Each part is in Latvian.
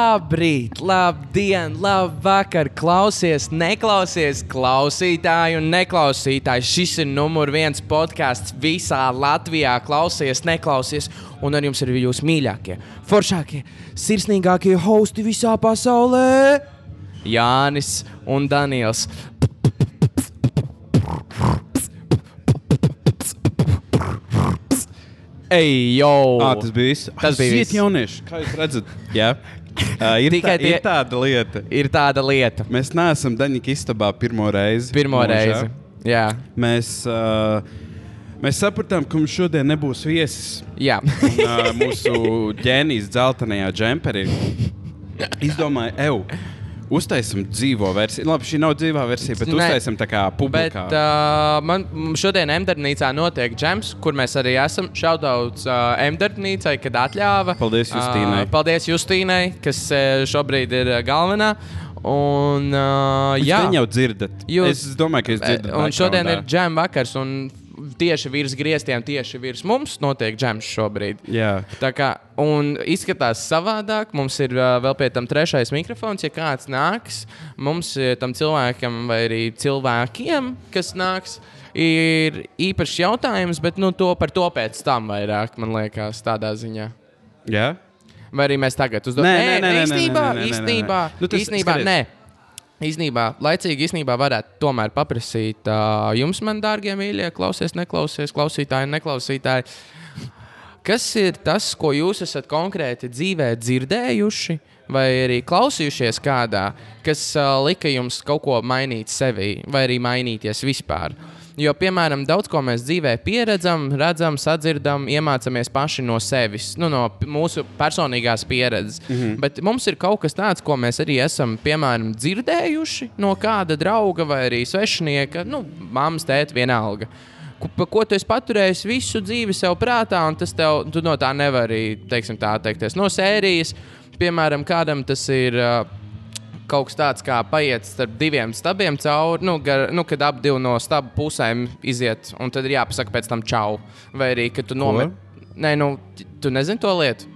Labrīt, labdien, labvakar. Klausies, neklausies, klausītāji un neklausītāji. Šis ir numur viens podkāsts visā Latvijā. Klausies, neklausies, un ar jums ir jūsu mīļākie, foršākie, sirsnīgākie hosti visā pasaulē - Jānis un Daniels. Ej, jau! Ah, tas bija viss. Tas bija Aiziet, viss. jaunieši. Kā jūs redzat? Jā, uh, ir, Tikai tā, tie- ir tāda lieta. ir tāda lieta. Mēs neesam Daņķa istabā pirmo reizi. Pirmo mūžā. reizi. Jā, Mēs, uh, mēs sapratām, ka mums šodien nebūs viesis. jā. Un, uh, mūsu ģēnijas dzeltenajā džemperī izdomāja, eju, uztaisim dzīvo versiju. Labi, šī nav dzīvā versija, bet Nē. uztaisim tā kā Bet publikā. uh, man m- šodien Emdarbnīcā notiek džems, kur mēs arī esam. Šaudauts uh, Emdarbnīcai, kad atļāva. Paldies Justīnai. Uh, paldies Justīnai, kas uh, šobrīd ir uh, galvenā. Un, uh, Jūs jā, viņu jau dzirdat. Jūs- Jūs... Es domāju, ka jūs dzirdat. Un šodien ir backgroundā. džem vakars. un Tieši virs griestiem, tieši virs mums notiek džems šobrīd. Jā. Tā kā, un izskatās savādāk. Mums ir uh, vēl pie tam trešais mikrofons. Ja kāds nāks, mums eh, tam cilvēkam vai arī cilvēkiem, kas nāks, ir īpašs jautājums, bet nu, to par to pēc tam vairāk, man liekas, tādā ziņā. Jā? Vai arī mēs tagad uzdodam? Nē, nē, nē, nē, nē, īstenībā, nē, nē, nē, nē, nē. īstenībā, Nu, tas- īstenībā, skaties. nē. Īsnībā, laicīgi, īsnībā varētu tomēr paprasīt uh, jums, man dārgie mīļie, klausies, neklausies, klausītāji, neklausītāji. Kas ir tas, ko jūs esat konkrēti dzīvē dzirdējuši, vai arī klausījušies kādā, kas uh, lika jums kaut ko mainīt sevi, vai arī mainīties vispār? Jo, piemēram, daudz ko mēs dzīvē pieredzam, redzam, sadzirdam, iemācāmies paši no sevis, nu, no p- mūsu personīgās pieredzes. Mm -hmm. Bet mums ir kaut kas tāds, ko mēs arī esam, piemēram, dzirdējuši no kāda drauga vai arī svešinieka, nu, māmas, tēta, vienalga. Ko- pa ko tu esi paturējis visu dzīvi sev prātā, un tas tev tu no tā nevar arī, teiksim, tā teikties. No sērijas, piemēram, kādam tas ir. Uh, Kaut kas tāds kā paiet starp diviem stabiem cauri, nu, gar, nu kad abi divi no stabu pusēm iziet, un tad ir jāpasaka pēc tam čau. Vai arī, ka tu nomet. Nē, nu, t- tu nezini to lietu.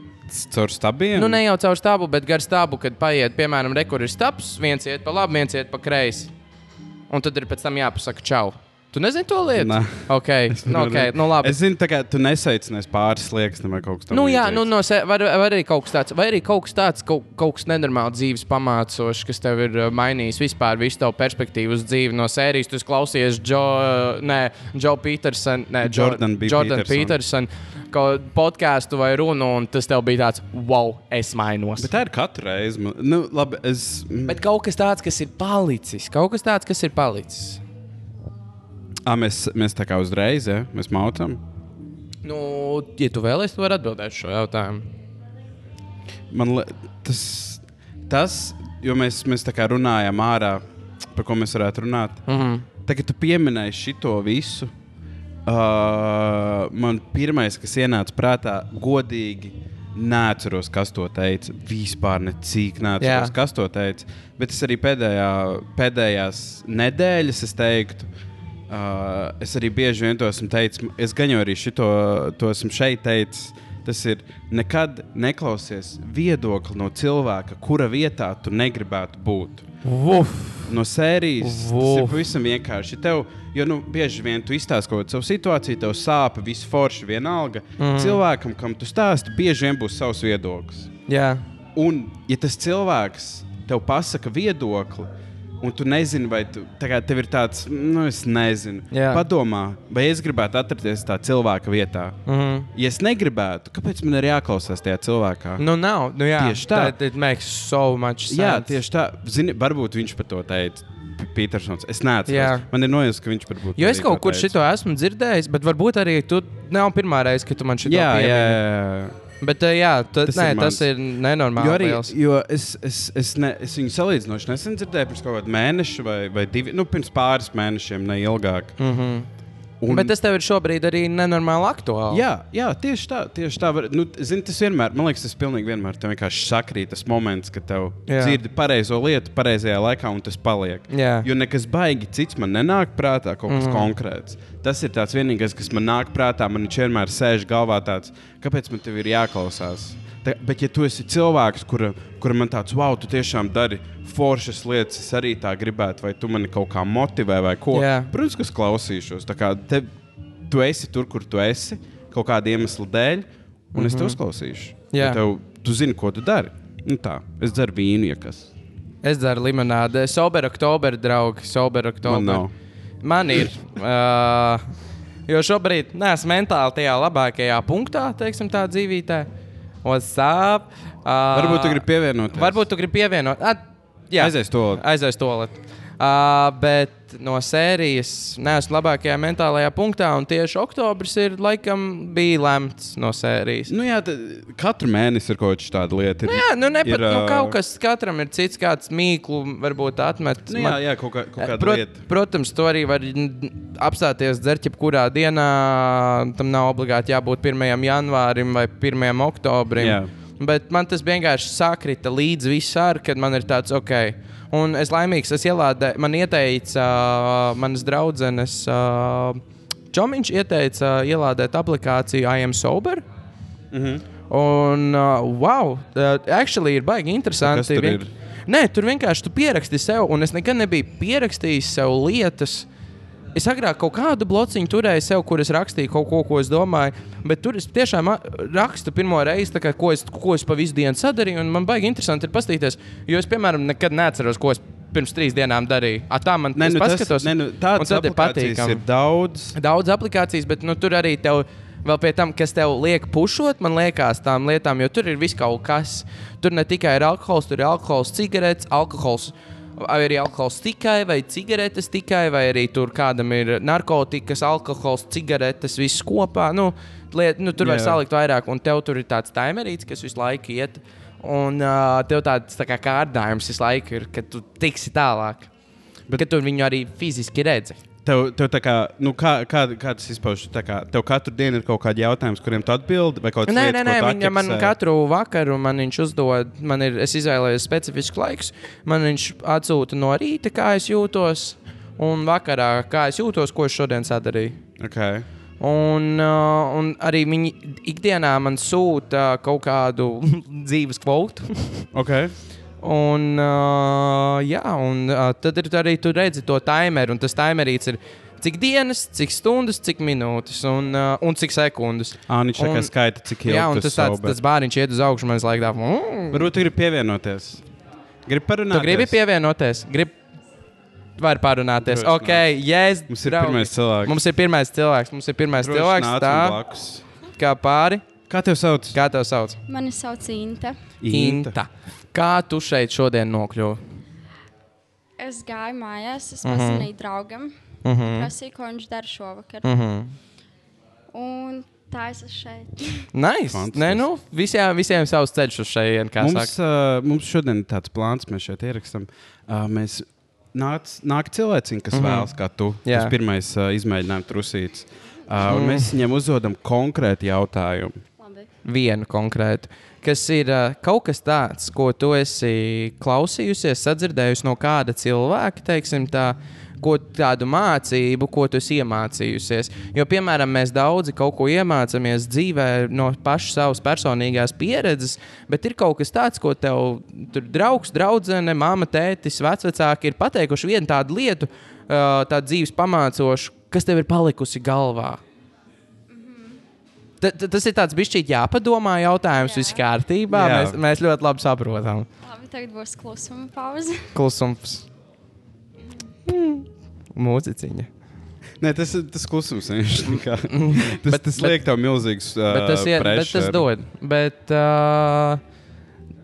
Caur stabiem? Nu, ne jau caur stābu, bet gar stābu, kad paiet, piemēram, rekur ir stabs, viens iet pa labi, viens iet pa kreisi. Un tad ir pēc tam jāpasaka čau. Tu nezini to lietu? Nā. Ok, nu, okay nu, labi. Es zinu, tā kā tu nesaicinies pāris liekas, vai kaut kas tāds. Nu, jā, nu, no, se- var, var arī kaut kas tāds, vai arī kaut kas tāds, kaut, kaut kas nenormāls dzīves pamācošs, kas tev ir uh, mainījis vispār visu tavu perspektīvu uz dzīvi. No sērijas tu esi klausies Joe, nē, Joe Peterson, nē, Jo- Jordan B. Jordan Peterson. Peterson kaut podkāstu vai runu, un tas tev bija tāds, wow, es mainos. Bet tā ir katra reize. man- Nu, labi, es. Bet... Bet kaut kas tāds, kas ir palicis, kaut kas tāds, kas ir palicis. À, mēs, mēs tā kā uzreiz, ja? Mēs mautam. Nu, ja tu vēlēsies, tu vari atbildēt šo jautājumu. Man li... tas, tas, jo mēs, mēs tā kā runājam ārā, par ko mēs varētu runāt. Mm -hmm. Tagad tu pieminēji šito visu. Uh, man pirmais, kas ienāca prātā, godīgi. Neatceros, kas to teica. Vispār necīk neatceros, Jā. Jā. kas to teica. Bet es arī pēdējā, pēdējās nedēļas, es teiktu, uh, es arī bieži vien to esmu teicis. Es gan jau arī šito, to esmu šeit teicis. Tas ir nekad neklausies viedokli no cilvēka, kura vietā tu negribētu būt no sērijas. Tas ir Vuf. pavisam vienkārši. Tev, jo nu, bieži vien tu izstāsti kaut kādu savu situāciju, tev sāpes, viss forši vienalga. Mm. Cilvēkam, kam tu stāsti, bieži vien būs savs viedoklis. Jā, Un, ja tas cilvēks tev pasaka viedokli, un tu nezini, vai tu, tā kā tev ir tāds, nu, es nezinu, Jā. padomā, vai es gribētu atrasties tā cilvēka vietā. mm -hmm. Ja es negribētu, kāpēc man ir jāklausās tajā cilvēkā? nu nav. Nu, jā, Tieši tā. That, it makes so much sense. Jā, tieši tā. Zini, varbūt viņš par to teica. P- Petersons. Es neatceros. Jā. Man ir nojauts, ka viņš varbūt. Jo es arī kaut to kur teica. šito esmu dzirdējis, bet varbūt arī tu nav pirmā reize, kad tu man šito Jā, jā, piemini. jā. Bet, eh, jā, tad, tas, Tas nē, ir ir tas mans. ir nenormāli. Jo, arī, liels. jo es, es, es, ne, es viņu salīdzinoši nesen dzirdēju, pirms kaut kāda mēneša vai, vai divi, nu, pirms pāris mēnešiem, ne ilgāk. Mm -hmm. Mhm. Un... Bet tas tev ir šobrīd arī nenormāli aktuāli. Jā, jā, tieši tā. Tieši tā var, nu, zini, tas vienmēr, man liekas, tas pilnīgi vienmēr tev vienkārši sakrīt tas moments, kad tev Jā. dzirdi pareizo lietu pareizajā laikā un tas paliek. Jā. Jo nekas baigi cits man nenāk prātā, kaut kas mm. konkrēts. Tas ir tas vienīgais, kas man nāk prātā. Man viņš vienmēr sēž galvā tāds, kāpēc man tev ir jāklausās. Tā Te- Bet, ja tu esi cilvēks, kuram kura man tāds, wow, tu tiešām dari foršas lietas, es arī tā gribētu, vai tu mani kaut kā motivē, vai ko. Jā. Protams, ka es klausīšos. Tā kā te, tu esi tur, kur tu esi, kaut kāda iemesla dēļ, un mm -hmm. es tev uzklausīšu. Mhm. Jā. Ja Tev, tu zini, ko tu dari. Nu, tā, es dzeru vīnu, ja kas. Es dzeru limonādi. Sober oktober, draugi. Sober oktober. Man nav. Man ir. Uh, jo šobrīd neesmu mentāli tajā labākajā punktā, teiksim, tā dzīvītē. What's up? Uh, Varbūt tu gribi pievienot. Varbūt tu gribi pievienot. At, jā, Ah. Aizies tualetē. Aizies toalet. Uh, bet no sērijas neesmu labākajā mentālajā punktā, un tieši oktobris ir laikam bija lemts no sērijas. Nu, jā, tad katru mēnesi ir kaut kas tāds lietu. Nu, jā, nu, nepat, ir, nu ā, kaut kas katram ir cits, kāds mīklu varbūt atmet. Nu, Man- Eh, jā, jā, kaut, kā, kaut kāda Prot, lieta. protams, to arī var n- apstāties dzert jebkurā dienā. Tam nav obligāti jābūt 1. janvārim vai 1. oktobrim. Jā. Bet man tas vienkārši sakrita līdz visam, kad man ir tāds ok. Un es laimīgs, es ielādēju, man ieteica uh, manas draudzenes. Uh, Čomiņš ieteica ielādēt aplikāciju I am sober. Mm -hmm. Un, uh, wow, uh, actually ir baigi interesanti. Kas tur Vien- ir? Nē, tur vienkārši tu pieraksti sev, un es nekad nebiju pierakstījis sev lietas. Es agrāk kaut kādu blociņu turēju sev, kur es rakstīju kaut ko, ko es domāju, bet tur es tiešām a, rakstu pirmo reizi, tā kā, ko, es, ko es pa visu dienu sadarīju, un man baigi interesanti ir paskatīties, jo es, piemēram, nekad neatceros, ko es pirms trīs dienām darīju. A, tā man Nē, es nu, paskatos, tas, nē, nu, un tāds tad ir aplikācijas patīkami ir daudz. daudz aplikācijas, bet nu, tur arī tev. Vēl pie tam, kas tev liek pušot, man liekas, tām lietām, jo tur ir viss kaut kas. Tur ne tikai ir alkohols, tur ir alkohols, cigaretes, alkohols. Vai arī alkohols tikai, vai cigaretes tikai, vai arī tur kādam ir narkotikas, alkohols, cigaretes, viss kopā. Nu, liet, nu, tur var Jā. salikt vairāk, un tev tur ir tāds taimerīts, kas visu laiku iet. Un uh, tev tāds tā kā kārdinājums visu laiku ir, ka tu tiksi tālāk. Bet tu viņu arī fiziski redzi. Tev, tev tā kā, nu, kā, kā, kā tas izpaužas? Tā kā Tev katru dienu ir kaut kādi jautājumi, kuriem tu atbildi, vai kaut kas Nē, tāds nē, nē viņa man katru vakaru man viņš uzdod, man ir, es izvēlējos specifisku laiku. Man viņš atsūta no rīta, kā es jūtos, un vakarā, kā es jūtos, ko es šodien sadarīju. Okay. Un, uh, un arī viņi ikdienā man sūta kaut kādu dzīves kvotu. Okay. Un, uh, jā, un uh, tad ir arī tur redzi to timeru, un tas timerīts ir cik dienas, cik stundas, cik minūtes un, uh, un cik sekundes. Ah, viņš tā Un- kā skaita, cik ilgi Jā, un tas, tāds, sober. tas bāriņš iet uz augšu, man liekas, mm. Varbūt tu gribi pievienoties. Gribi parunāt? tu gribi pievienoties. Grib... Var parunāties. Drošināt. Ok, yes, Mums ir pirmais cilvēks. Mums ir pirmais cilvēks. Mums ir pirmais Droši cilvēks. nāc Tā man blakus. kā pāri. Kā tev sauc? Kā tev sauc? Mani sauc Inta. Inta. Kā tu šeit šodien nokļuvi? Es gāju mājās, es paziņoju draugam, prasīju, ko viņš dara šovakar. Un tā es esmu šeit. Nice. Fantastiski. Nē, nu, visiem, visiem savs ceļš uz šejienes, kā Mums, saka. uh, mums šodien ir tāds plāns, mēs šeit ierakstām. Uh, mēs nāc, nāk cilvēciņi, kas mm -hmm. vēlas, kā tu. Mhm. Jā. Mhm. Tas pirmais uh, izmēģinājums trusīts. Uh, mm. Mēs viņam uzdodam konkrēti jautājumu. Labi. vienu konkrētu, kas ir ā, kaut kas tāds, ko tu esi klausījusies, sadzirdējusi no kāda cilvēka, teiksim, tā, ko, tādu mācību, ko tu esi iemācījusies. Jo, piemēram, mēs daudzi kaut ko iemācāmies dzīvē no pašas savas personīgās pieredzes, bet ir kaut kas tāds, ko tev tur draugs, draudzene, māma, tētis, vecvecāki ir pateikuši vienu tādu lietu, ā, tādu dzīves pamācošu, kas tev ir palikusi galvā. Ta- ta- Tas ir tāds bišķīgi jāpadomā jautājums. Jā. Viss kārtībā. Jā. Mēs, mēs ļoti labi saprotam. Labi, tagad būs klusuma pauze. Klusums. Mm. Mūziciņa. Nē, tas ir tas klusums. viņš kā- tas, Mhm. Bet- bet, tas bet- liek tev milzīgs. Uh, Bet tas, ir, bet pressure. tas dod. Bet, uh,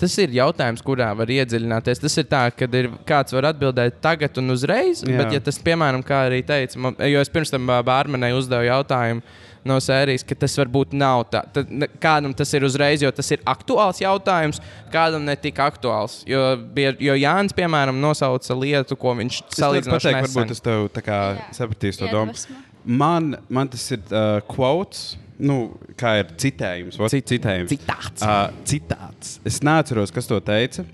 tas ir jautājums, kurā var iedziļināties. Tas ir tā, ka kāds var atbildēt tagad un uzreiz. Jā. Jā. Bet, ja tas, piemēram, kā arī teica, man, jo es pirms tam ā, bārmenei uzdevu jautājumu. No sērijas, ka tas varbūt nav tā. Tad, ne, kādam tas ir uzreiz, jo tas ir aktuāls jautājums, kādam ne tik aktuāls. Jo, bie- jo Jānis, piemēram, nosauca lietu, ko viņš Es varu salīdzināja ar pateikt, varbūt es tev tā kā Jā. sapratīšu to domu. Iedvesma. Man, man tas ir uh, quotes, nu, kā ir citējums. vot, Cit- citējums. citāts. Uh, citāts. Es neatceros, kas to teica,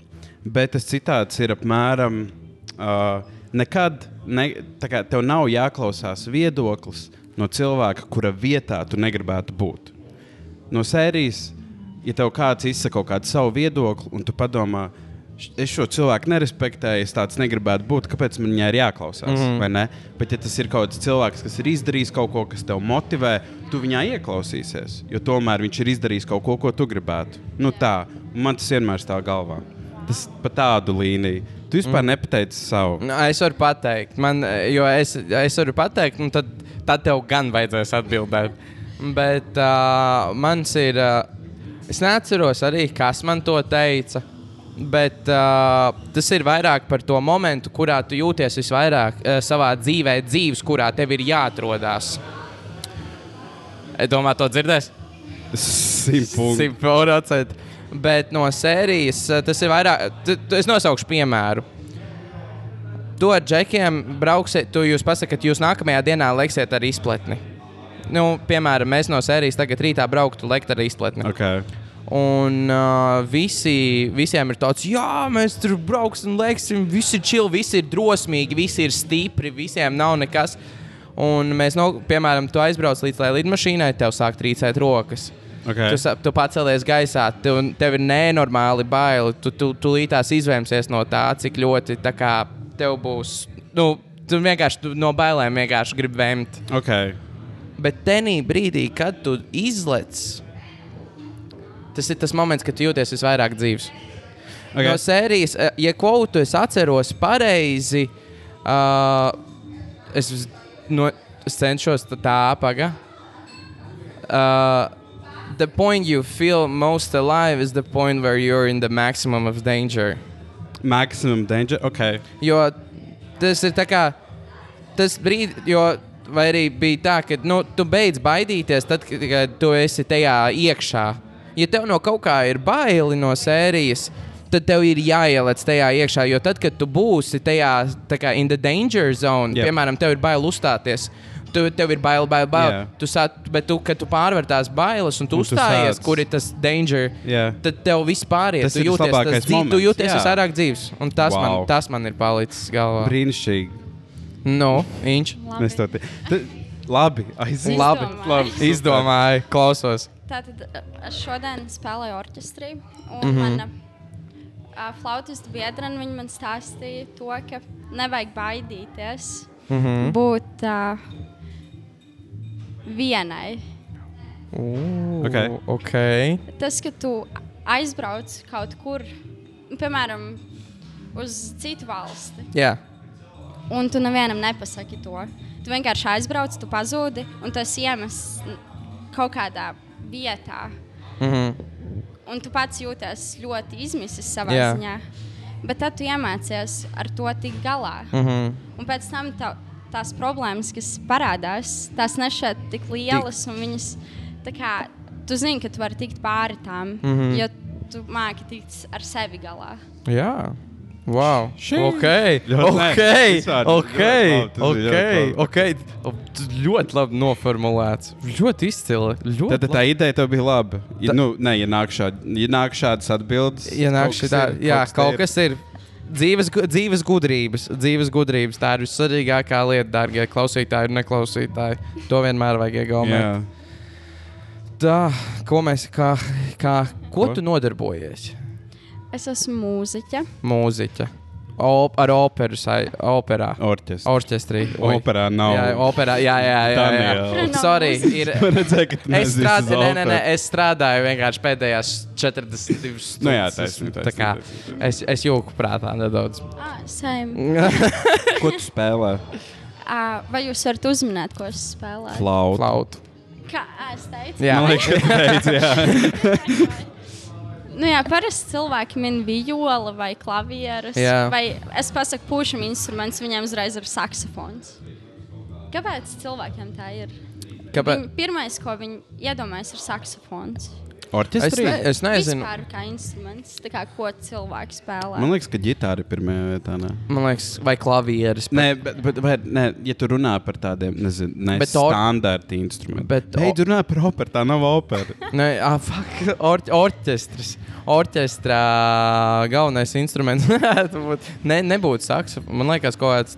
bet tas citāts ir apmēram. Uh, nekad ne, tā kā tev nav jāklausās viedoklis no cilvēka, kura vietā tu negribētu būt. No sērijas ja tev kāds izsaka kaut kādu savu viedokli, un tu padomā, "Š- es šo cilvēku nerespektēju, es tāds negribētu būt, kāpēc man viņai ir jāklausās? Mhm. Mm -hmm. ne? Bet, ja tas ir kaut kāds cilvēks, kas ir izdarījis kaut ko, kas tev motivē, tu viņā ieklausīsies, jo tomēr viņš ir izdarījis kaut ko, ko tu gribētu. Nu, tā, man tas vienmēr stāv galvā. Tas pa tādu līniju. Tu vispār mm. nepateici savu. Nu, es varu pateikt, man, jo es, es varu pateikt, un tad, tad tev gan vajadzēs atbildēt. Bet uh, mans ir. Uh, es neatceros arī, kas man to teica. Bet uh, tas ir vairāk par to momentu, kurā tu jūties visvairāk uh, savā dzīvē, dzīves, kurā tev ir jāatrodās. Es domāju, to dzirdēs. Simtpunkts. Simtprocentīgi. Bet no sērijas eh, tas ir vairāk. Tu, tu, es nosaukšu piemēru. To ar džekiem brauksiet, tu jūs pasakat, jūs nākamajā dienā leksiet ar izpletni. Nu, piemēram, mēs no sērijas tagad rītā brauktu lekt ar izpletni. Okay. Un uh, visi, visiem ir tāds, jā, mēs tur brauksim, lēksim, visi ir čili, visi ir drosmīgi, visi ir stipri, visiem nav nekas. Un mēs, no, piemēram, tu aizbrauc līdz tai lidmašīnai, tev sāk trīcēt rokas. Okay. Tu, sa- tu pacelies gaisā, tev, tev ir nenormāli baili. Tu, tu, tu līdās izvēmsies no tā, cik ļoti tā kā, tev būs. Nu, tu vienkārši tu no bailēm vienkārši gribi vēmt. Okay. Bet tenī brīdī, kad tu izlec, tas ir tas moments, kad tu jūties visvairāk dzīves. Okay. No Okay. sērijas, eh, ja kvotu es atceros pareizi, uh, es, uz- no, es cenšos tā, tā paga. Uh, the point you feel most alive is the point where you're in the maximum of danger. Maximum danger. Okay. Jo tas ir tā kā tas brīdis, jo vai arī bija tā, ka nu, tu beidz baidīties, tad, kad, kad tu esi tajā iekšā. Ja tev no kaut kā ir baili no sērijas, tad tev ir jāieliec tajā iekšā. Jo tad, kad tu būsi tajā tā kā in the danger zone, Jā. yep. piemēram, tev ir bail uzstāties. Tu, tev ir bail, bail, bail. Jā. Tu sāc, bet tu, kad tu pārvar tās bailes un tu Un tu uzstājies, sāc. kur ir tas danger, Jā. tad tev vispār ir. Tas Tu ir tas jūties, labākais tas dzīv- tu moments, jūties jā. visvairāk dzīves. Un tas, wow. man, Wow. tas man ir palicis galvā. Brīnišķīgi. Nu, viņš Labi. Mēs to te... T- Labi, aiziet. Labi. Labi. izdomāja, klausos. Tātad eh, es šodien spēlēju orķestrī, un mm -hmm. mana uh, flautista biedrene viņa man stāstīja to, ka nevajag baidīties mm -hmm. būt uh, vienai. Okay. okay. Tas, ka tu aizbrauc kaut kur, piemēram, uz citu valsti, Jā, un tu nevienam nepasaki to. Tu vienkārši aizbrauc, tu pazūdi, un tas iemests kaut kādā vietā. mm -hmm. un tu pats jūties ļoti izmisis savā Jā. Jā. ziņā. Bet tad tu iemācies ar to tikt galā. Mm -hmm. Un pēc tam tā, tās problēmas, kas parādās, tās nešķiet tik lielas, un viņas, tā kā, tu zini, ka tu vari tikt pāri tām, mm Mhm. -hmm. jo tu māki tikt ar sevi galā. jā. Wow. Ok, Ļoti ok, labi. Vispār ok, ļoti labi, tas bija ok, ļoti labi. ok. Tu Ļoti labi noformulēts. Ļoti izcili. Ļoti Tad tā labi. ideja tev bija laba. Ja, Ta- nu, nē, ja nāk, šād, ja nāk šādas atbildes, Ja nāk kaut kas šitā, ir, jā, kaut te kas ir. Dzīves, gu- dzīves gudrības, dzīves gudrības. Tā ir vissvarīgākā lieta, darbie klausītāji un neklausītāji. To vienmēr vajag Jā. iegūt. Tā, ko mēs, kā, kā, ko Ko? tu nodarbojies? Es esmu mūziķe. Mūziķa. Op, ar operu, sai- operā. Orķestris. Orķestrī. Oi. Operā nav. Jā, operā. Jā, jā, jā. jā. Daniel. Sorry, ir. Redzēju, ka tu Es nezini, kas strādāju, ir nē, nē, nē, opera. es strādāju vienkārši pēdējās 42 stundas. Nu jā, taisnība, Es- tā kā taisnība, es, es jūku prātā nedaudz. Ah, same. Mm. Ko tu spēlē? Ah, vai jūs varat uzminēt, ko es spēlēju? Flauta. Flautu. Kā ah, es teicu? Jā. Man liekas, ka teici, jā. Nu jā, parasti cilvēki min vijoli vai klavierus. Jā. Vai es pasaku, pušam instruments, viņiem uzreiz ir saksofons. Kāpēc cilvēkiem tā ir? Kāpēc? Viņi, Nu, pirmais, ko viņi iedomājas, ir saksofons. Es, Orķestris. ne, es nezinu. Vispār kā instruments, tā kā ko cilvēks spēlē. Man liekas, ka ģitāra ir pirmajā vietā. Nē. Man liekas, vai klavieris. Nē, bet, bet vai, nē, ja tu runā par tādiem, nezinu, ne Bet or- standarta instrumentiem, Bet Nē, o- tu runā par operu, tā nav opera. Nē, ah, fuck, or, orķestris. Orķestrā galvenais instruments varētu būt. Ne, nebūtu saksofons. Man liekas, kaut kāds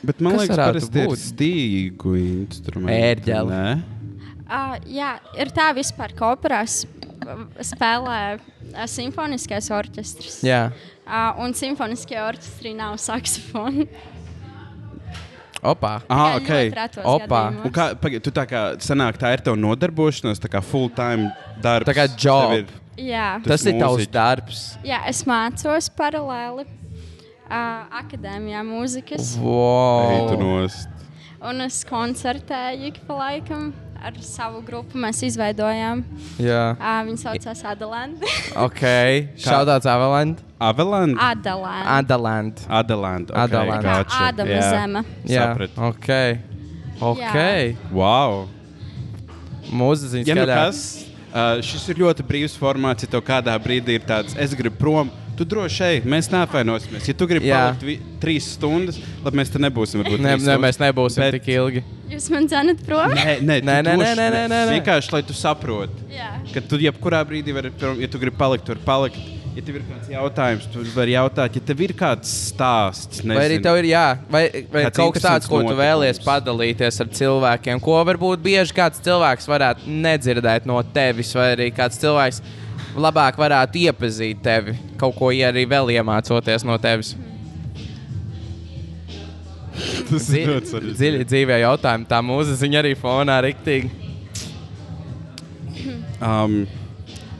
Bet man Kas liekas, varētu parasti ir būt? stīgu instrumenti. Ērģeli. nē? Uh, jā, ir tā vispār, ka operās spēlē ā, simfoniskais orķestris. Jā, Ā, Un simfoniskie orķestri nav saksofoni. opā. Ah, Tikai ļoti ok. retos Opa. gadījumos. Un kā, pagaid, tu tā kā sanāk, tā ir tev nodarbošanās, tā kā full time darbs. Tā kā tev job. ir- Jā. Tas Tas ir tavs mūziķis. darbs. Jā, es mācos paralēli uh, akadēmijā Ej, mūzikas, tu Wow. nost. un es koncertēju ik pa laikam ar savu grupu. Mēs izveidojām, Jā, uh, viņi saucās Adelēna. ok. Šaudāts Avaland. Avalanche. Adelēna. Adaland. Adelante. Okay, Adelante. Kā gotcha. Ādama Jā. zeme. Jā, Sapratu. ok. Ok. Wow. Mūziķis Ja nu skaļāk. kas, uh, šis ir ļoti brīvs formāts. Ja tev kādā brīdī ir tāds, es gribu prom, tu droši ej, mēs neapvainosimies. Ja tu gribi Jā. palikt vi- trīs stundas, tad mēs te nebūsim. varbūt Ne, trīs ne, stundas, mēs nebūsim bet- Bet... tik ilgi. Jūs man zinat prom? Nē, Nē, nē, tu nē, nē, droši- nē, nē, nē. Vienkārši, lai tu saproti. Jā. Kad tu jebkurā brīdī vari, prom- ja tu gribi palikt, tur palikt. Ja tev ir kāds jautājums, tu vari jautāt, ja tev ir kāds stāsts. Nezinu. Vai arī tev ir jā, vai, vai Kāds kaut kas tāds, ko tu interesants vēlies notikums. padalīties ar cilvēkiem, ko varbūt bieži kāds cilvēks varētu nedzirdēt no tevis, vai arī kāds cilvēks labāk varētu iepazīt tevi, kaut ko ja arī vēl iemācoties no tevis. tas Dzi- ir ļoti svarīgi. Dziļi dzīvē jautājumi, tā mūziķa arī fonā riktīgi. Um,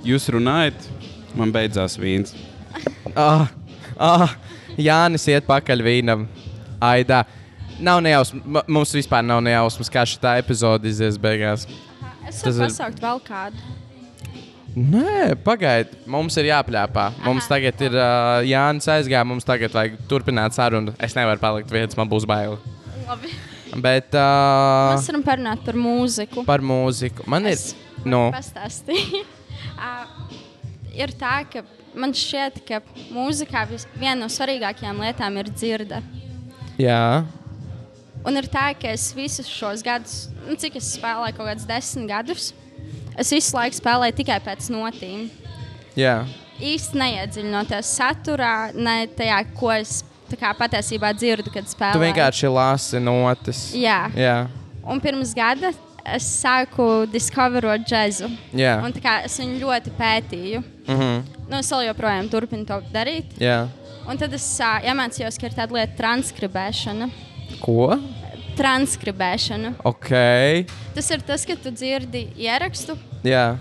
jūs runājat, man beidzās vīns. Ah, ah, Jānis iet pakaļ vīnam. Aidā. Nav nejausmas, m- mums vispār nav nejausmas, kā šī epizode izies beigās. Es Tas varu ir- pasaukt vēl kādu. Nē, pagaidiet, mums ir jāpļāpā. Mums Aha. tagad ir uh, Jānis aizgājis, mums tagad vajag turpināt sarunu. Es nevaru palikt viens, man būs bail. Labi. Bet uh, Mēs varam parunāt par mūziku. par mūziku man ir. Es Nu, Pastāstīju. uh, ir tā, ka man šķiet, ka mūzikā vis- viena no svarīgākajām lietām ir dzirde. jā, Un ir tā, ka es visus šos gadus, nu, cik es spēlēju, kaut kādus desmit gadus, es visu laiku spēlēju tikai pēc notīm. jā. Īsti neiedziļinoties saturā, ne tajā, ko es tā kā, patiesībā dzirdu, kad spēlēju. Tu vienkārši lasi notis. Jā. jā. Un pirms gada es sāku discoverot džēzu. jā. Un tā kā es viņu ļoti pētīju. Mm -hmm. Nu, es vēl joprojām turpinu to darīt. jā. Un tad es uh, iemācījos, ka ir tāda lieta, transkribēšana. Ko? transkribēšana. Ok. Tas ir tas, ka tu dzirdi ierakstu, Jā.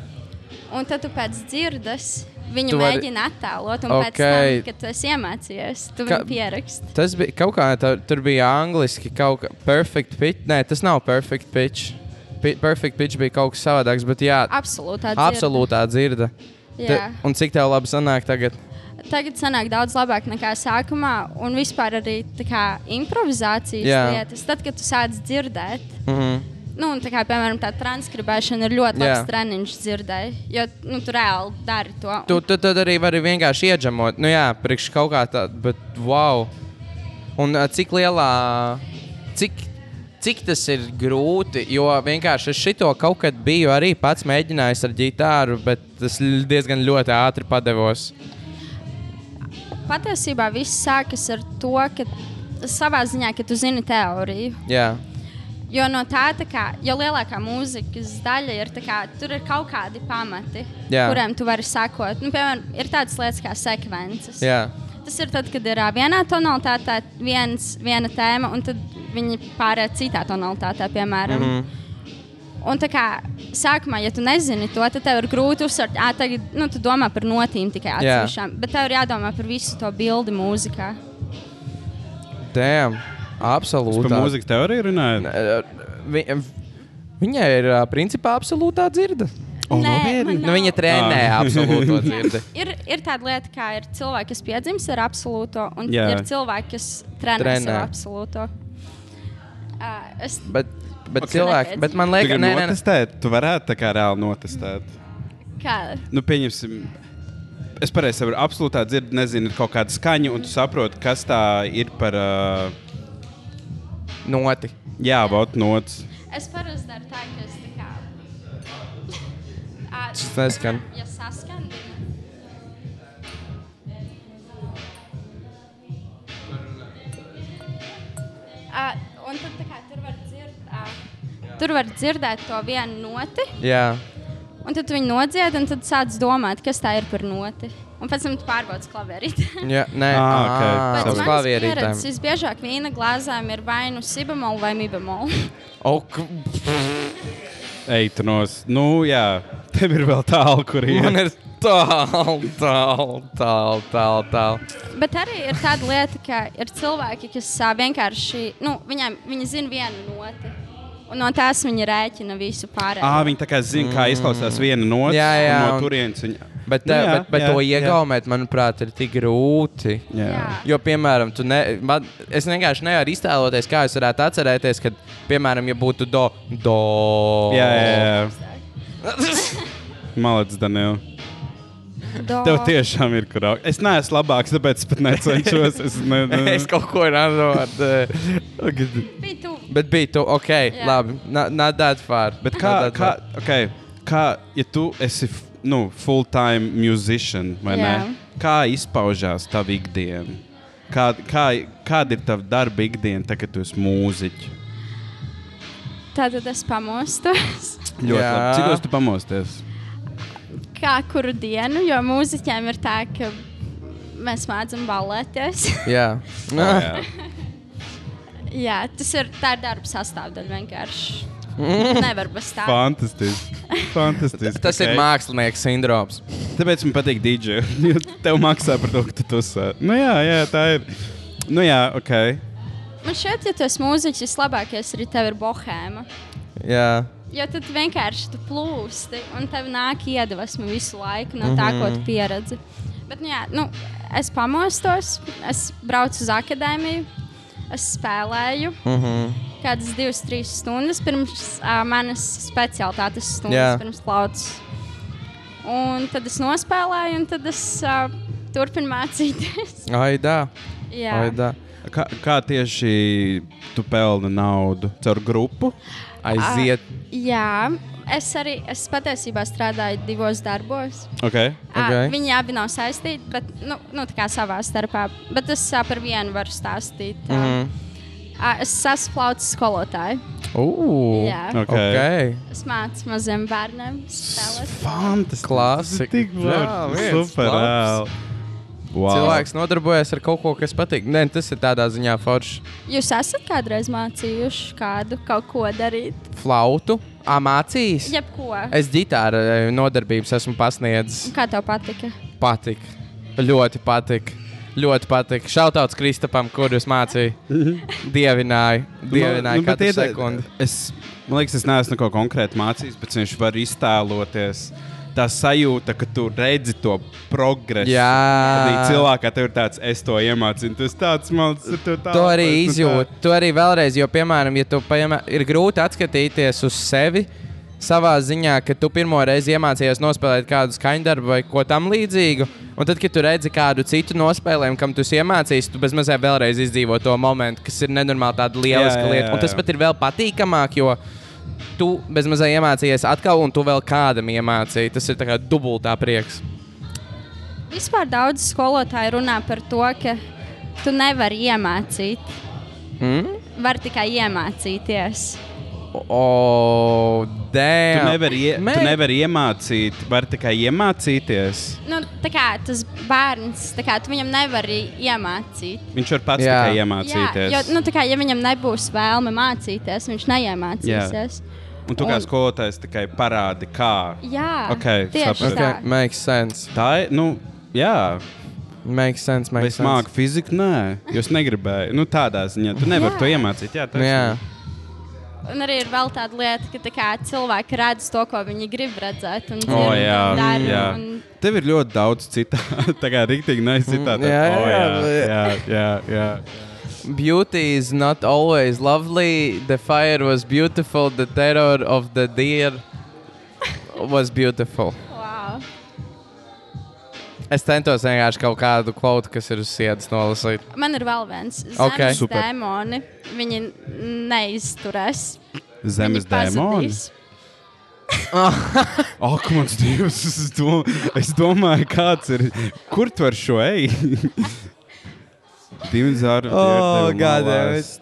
un tad tu pēc dzirdes viņu Tu tu vari- mēģini attēlot. Un pēc Okei. tam, kad tu esi iemācījies, tu Ka- viņu pieraksti. Tas bija kaut kā tā, tur bija angliski kaut kā perfect pitch. Nē, tas nav perfect pitch. Pi perfect pitch bija kaut kas savādāks, bet jā, Absolūtā. dzirde. absolūtā dzirde. Jā. Te- Un cik tev labi sanāk tagad? Tagad sanāk daudz labāk nekā sākumā, un vispār arī tā kā, improvizācijas Jā. lietas. Tad, kad tu sāc dzirdēt, Mm -hmm. nu, un tā kā, piemēram, tā transkribēšana ir ļoti Jā. labs treniņš dzirdēt, jo nu, tu reāli dari to. Un tu, tu tad arī vari vienkārši iedžamot. Nu jā, priekš kaut kā tāda, bet wow. Un ā, cik lielā, cik, cik tas ir grūti, jo vienkārši es šito kaut kad biju arī pats mēģinājis ar ģitāru, bet tas l- diezgan ļoti ātri padevos. Patiesībā viss sākas ar to, ka savā ziņā, ka tu zini teoriju. Jā, Jo no tā, tā kā, jo lielākā mūzikas daļa ir, tā kā, tur ir kaut kādi pamati, Jā. kuriem tu vari sekot. Nu, piemēram, ir tādas lietas kā sekvences. jā. Tas ir tad, kad ir ā, vienā tonalitātē viens, viena tēma, un tad viņi pārējai citā tonalitātē, piemēram. Mm Mhm. -hmm. Un tā kā sākumā, ja tu nezini to, tad tev ir grūti uzsvērt, ah, tagad nu, tu domā par notīm Jā. tikai atsevišķām, bet tev ir jādomā par visu to bildi mūzikā. Damn, Jūs par absolūti. mūzikas teoriju runājat? Vi, viņai ir ā, principā absolūtā dzirde. O, Nē, nopietni? man Nu, viņa trenē Ah. absolūto dzirdi. Ir, ir tāda lieta, kā ir cilvēki, kas piedzimst ar absolūto, un Jā. Jā. ir cilvēki, kas trenē, Trenē. trenē. savu absolūto. Uh, es, Bet, bet Ok. okay. cilvēki, bet man Tu liekas, gribi nē, nē, nē. notestēt, tu varētu tā kā reāli notestēt. kā, Nu, pieņemsim, es pareizi saprotu, absolūtā dzirdu, nezinu, ir kaut kāda skaņa, un tu saproti, kas tā ir par. Uh, noti. jā, vot nots. es parasti daru tā, ka es tā kā. Ā, Tas neskan. Ja saskan, uh, un tad tā kā tur var dzirdēt. Uh, Tur var dzirdēt to vienu noti, Jā, un Un tad viņi nodzied, un tad sāc domāt, kas tā ir par noti. Un pēc tam tu pārbaudi klavierīti. Jā, nē, Ah, ok. ā, Pēc uz manas klavierītēm. pieredzes visbiežāk vīna glāzēm ir vai nu sibamola vai mibamola. O, k- Eitu nos. Nu, jā, tev ir vēl tālu, kur Man ir. ir tālu, tālu, tālu, tālu. Tāl. Bet arī ir tāda lieta, ka ir cilvēki, kas ā, vienkārši, nu, viņiem, viņi zina vienu noti. Un no tās viņi rēķina visu pārējo. Ā, viņi tā kā zina, kā izklausās viena nots. Mm. Jā, jā, un un- No turienes viņa. Bet, Nu nu, jā, jā, bet, bet jā, jā, to jā. iegaumēt, manuprāt, ir tik grūti. Jā. Jā. Jo, piemēram, tu ne, man, es vienkārši nevaru iztēloties, kā es varētu atcerēties, kad, piemēram, ja būtu do. do. Jā, jā, jā. Malacis, Daniel. Do- Tev tiešām ir kurā. Es neesmu labāks, tāpēc es pat necenšos. Es ne, ne. es kaut ko nedomāju. bija tuvu. Bet bija tu, ok, jā. Jā. labi. na- Not that far. Bet Not kā, that kā, far. okay, kā, ja tu esi f- nu, full-time musician, vai ne? Jā. Kā izpaužās tava ikdiena? Kā, kā, kāda ir tava darba ikdiena, tā, kad tu esi mūziķis? Tātad es pamostos. Ļoti Jā. labi. Cikos tu pamosties? Kā kuru dienu, jo mūziķiem ir tā, ka mēs mācām balēties. Jā, Oh, Jā. Jā, tas ir tā ir darba sastāvdaļa vienkārši. Nevar bez tā. Fantastiski. Fantastiski. tas okay. ir mākslinieks sindroms. Tāpēc man patīk DJ. jo Tev maksā par to, ka tu to sāc. Nu, jā, jā, tā ir. Nu, jā, ok. Man šķiet, ja tu esi mūziķis, vislabākais arī tev ir bohēma. Jā, Jo tad vienkārši tu plūsti un tev nāk iedvesma visu laiku no tā, ko tu pieredzi. Bet, nu, jā, nu, es pamostos, es braucu uz akadēmiju, es spēlēju mm -hmm. kādas divas, trīs stundas pirms uh, manas specialitātes stundas, Jā. jā. pirms plaucas. Un tad es nospēlēju, un tad es uh, turpinu mācīties. aidā. jā, aidā. Kā, kā tieši tu pelni naudu? Caur grupu? Aiziet. Ah. jā, es arī es patiesībā strādāju divos darbos. Okay. Okay. Ok. Viņi abi nav saistīti, bet nu, nu, tā kā savā starpā. Bet es uh, par vienu varu stāstīt. Uh, Mhm. uh, es esmu plaucis skolotāju. Ugh, Jā. Ok. ok. Es mācu maziem bērniem spēlēt. Fantastiski. Klasika. Tik Jā, viens labi. Super. labs. ā. Wow. Cilvēks nodarbojas ar kaut ko, kas patīk. Nē, tas ir tādā ziņā forši. Jūs esat kādreiz mācījuši kādu kaut ko darīt? Flautu, amācijas. Jebko. Es ģitāru eh, nodarbības esmu pasniedzis. Un Kā tev patika? Patīk. Ļoti patīk. Ļoti patīk. Šautauts Kristapam, kurus mācīja. Dievināju. Dievināju Mhm. nu, bet katru ied- sekundi. Es, man liekas, es neesmu neko konkrēti mācījis, bet viņš var iztēloties. Tā sajūta, ka tu redzi to progresu. Jā. arī cilvēkā tev ir tāds, es to iemācīju. Tas tāds mākslinieks, kas tev tāds To arī izjūtu. To arī vēlreiz, jo, piemēram, ja tu paņem, ir grūti atskatīties uz sevi savā ziņā, ka tu pirmo reizi iemācījies nospēlēt kādu skaņdarbu vai ko tam līdzīgu. Un tad, kad tu redzi kādu citu nospēlējumu, kam tu esi iemācījies, tu bezmazliet vēlreiz izdzīvo to momentu, kas ir nenormāli tāda lieliska Jā, jā, lieta. jā, Un tas jā. pat ir vēl patīkamāk, jo tu bezmazliet iemācījies atkal, un tu vēl kādam iemācīji. Tas ir tā kā dubultā prieks. Vispār daudz skolotāju runā par to, ka tu nevari iemācīt. Mm? Var tikai iemācīties. O, Tu dēļ! nevari, ie, tu nevari iemācīt, var tikai iemācīties. Nu, tā kā tas bērns, tā kā tu viņam nevari iemācīt. Viņš var pats Jā. jā. tikai Jā, iemācīties. jo, nu, tā kā, ja viņam nebūs vēlme mācīties, viņš neiemācīsies. Un tu kā un- skolotājs tikai parādi, kā. Jā, jā Ok, tieši sapratu. tā. Okay, makes sense. Tā ir, nu, jā. Makes sense, Vai makes es sense. māku fiziku? Nē, jūs negribējāt. Nu, tādā ziņā. Tu nevari Jā. to iemācīt. Jā, Nu, tas jā. Un arī ir vēl tāda lieta, ka tā kā, cilvēki redz to, ko viņi grib redzēt. Un, O, dzird un Oh, jā, dara, jā. Un, Tev ir ļoti daudz citu. tā kā rīktīgi necitā. Mm, jā, oh, jā, jā, jā, jā, jā. Beauty is not always lovely. The fire was beautiful. The terror of the deer was beautiful. wow. Es centos vienkārši kaut kādu kvotu, kas ir uz sienas nolasīt. Man ir vēl viens. Ok. Zemes Super. dēmoni. Viņi neizturēs. Zemes Viņi dēmons. pazudīs. Ak, mans dievs, es, dom es domāju, kāds ir. Kur tu ar šo eji? Dimenzāra. Oh, Jūs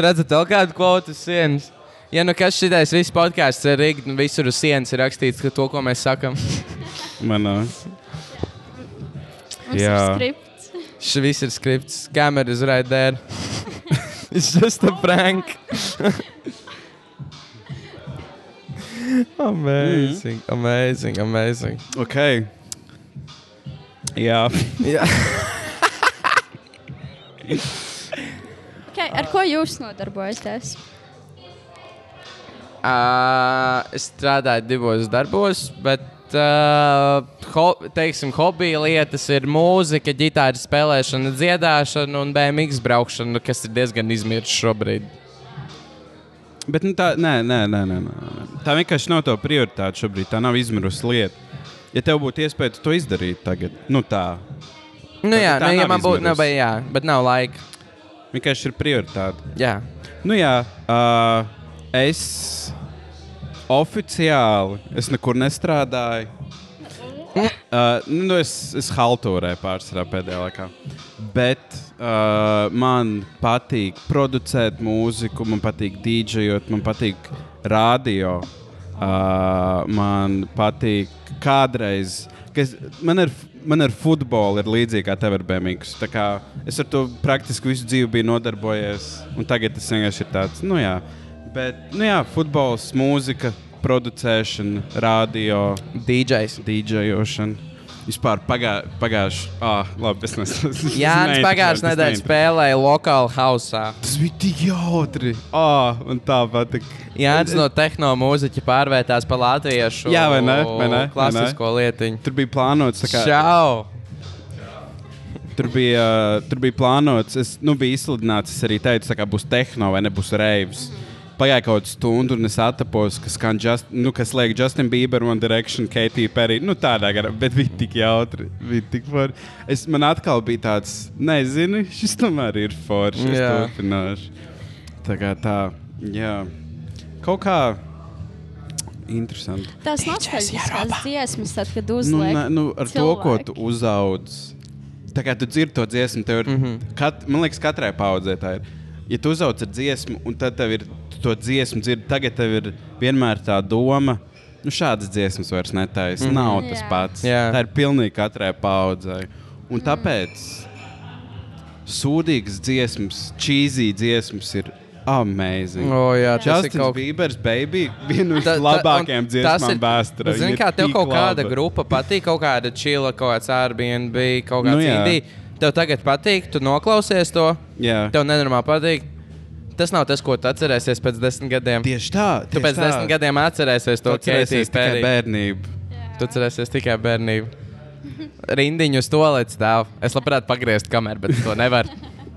redzat vēl kādu kvotu uz sienas? Ja nu kas šitais viss podkāsts ir rīkt, un visur uz sienas ir rakstīts, ka to, ko mēs sakām, Manā. Mums ir Jā. skripts. šis viss ir skripts. Kamera is right there. It's just a prank. amazing, amazing, amazing. Ok. Jā. Jā. Okay, ar ko jūs nodarbojaties? Ā, Ah, Es strādāju divos darbos, bet, uh, ho, teiksim, hobija lietas ir mūzika, ģitāra spēlēšana, dziedāšana un BMW braukšana, kas ir diezgan izmirta šobrīd. Bet nu, tā, nē, nē, nē, nē, nē, nē. tā vienkārši nav tā prioritāte šobrīd. Tā nav izmirusi lieta. Ja tev būtu iespēja to izdarīt tagad, nu tā. Nu, Tad jā, tā nu, ja nav man būtu, nu, izmirusi. bet, jā, bet nav laika. Vienkārši ir prioritāte. Jā. Nu jā, uh, es oficiāli es nekur nestrādāju. Uh, nu, es, es haltūrēju pārsvarā pēdējā laikā. Bet uh, man patīk producēt mūziku, man patīk dīdžejot, man patīk radio. Uh, man patīk kādreiz. Kas, man, ar, f- man ar futbolu ir līdzīgi kā tev ar Bēnijas. Es ar to praktiski visu dzīvi biju nodarbojies. un Tagad tas vienkārši ir tāds, nu jā. Bet, nu jā, futbols, mūzika, producēšana, radio. DJs. DJošana. Vispār pagā, pagājuši. Ah, labi, es nesaku. Jānis pagājušajā nedēļā spēlēja lokālu hausā. Tas bija tik jautri. Ah, man tā patīk. Jānis no tehno mūziķa pārvērtās par latviešu Jā, vai ne? Vai ne? Vai ne? klasisko lietiņu. Tur bija plānots, tā kā, Čau! tur bija, uh, tur bija plānots. Es nu, biju izsludināts, es arī teicu, tā kā būs tehno vai nebūs reivs. Pagāja kaut kāda stunda, un es atapos, kas skan just, nu, kas liek Justin Bieber, One Direction, Katy Perry. Nu, tādā garā, bet bija tik jautri. Bija tik forši. Es, man atkal bija tāds, nezinu, šis tomēr ir forši. Es Jā. turpināšu. Tā kā tā, jā. Kaut kā interesanti. Tās nostalģiskās dziesmas, tad, kad Nu, uzliek. ne, nu, ar cilvēki. to, ko cilvēki. tu uzaugsi. Tā kā tu dzirdi to dziesmu, tev ir. Mm Mhm. -hmm. kat, man liekas, katrai paudzē tā ir. Ja tu uzaugsi ar dziesmu, un tad tev ir tu to dziesmu, dzirdi, tagad tev ir vienmēr tā doma. Nu, šādas dziesmas vairs netaisa. Mm -hmm. Nav tas Jā. pats. Mhm. Jā. Tā ir pilnīgi katrai paudzē. Mm. Un tāpēc sūdīgas dziesmas, čīzī dziesmas ir amazing. O, jā, tas ir Justins kaut kaut... kas. Biebers, baby, viena no Ta- ta- labākajām un tas dziesmām ir- vēsturē. Zini, Viņa ir kā tev tik kaut kāda laba. grupa patīk, kaut kāda čila, kaut kāds Airbnb, kaut kāds Nu nu, jā. indie. Tev tagad patīk, tu noklausies to, Jā. tev nenormāli patīk. Tas nav tas, ko tu atcerēsies pēc desmit gadiem. Tieši tā, Tu pēc desmit gadiem atcerēsies to, to ka atcerēsies tikai bērnību. Tu atcerēsies tikai bērnību. Rindiņu uz to lietu stāv. Es labprāt pagriezt kameru, bet to nevaru.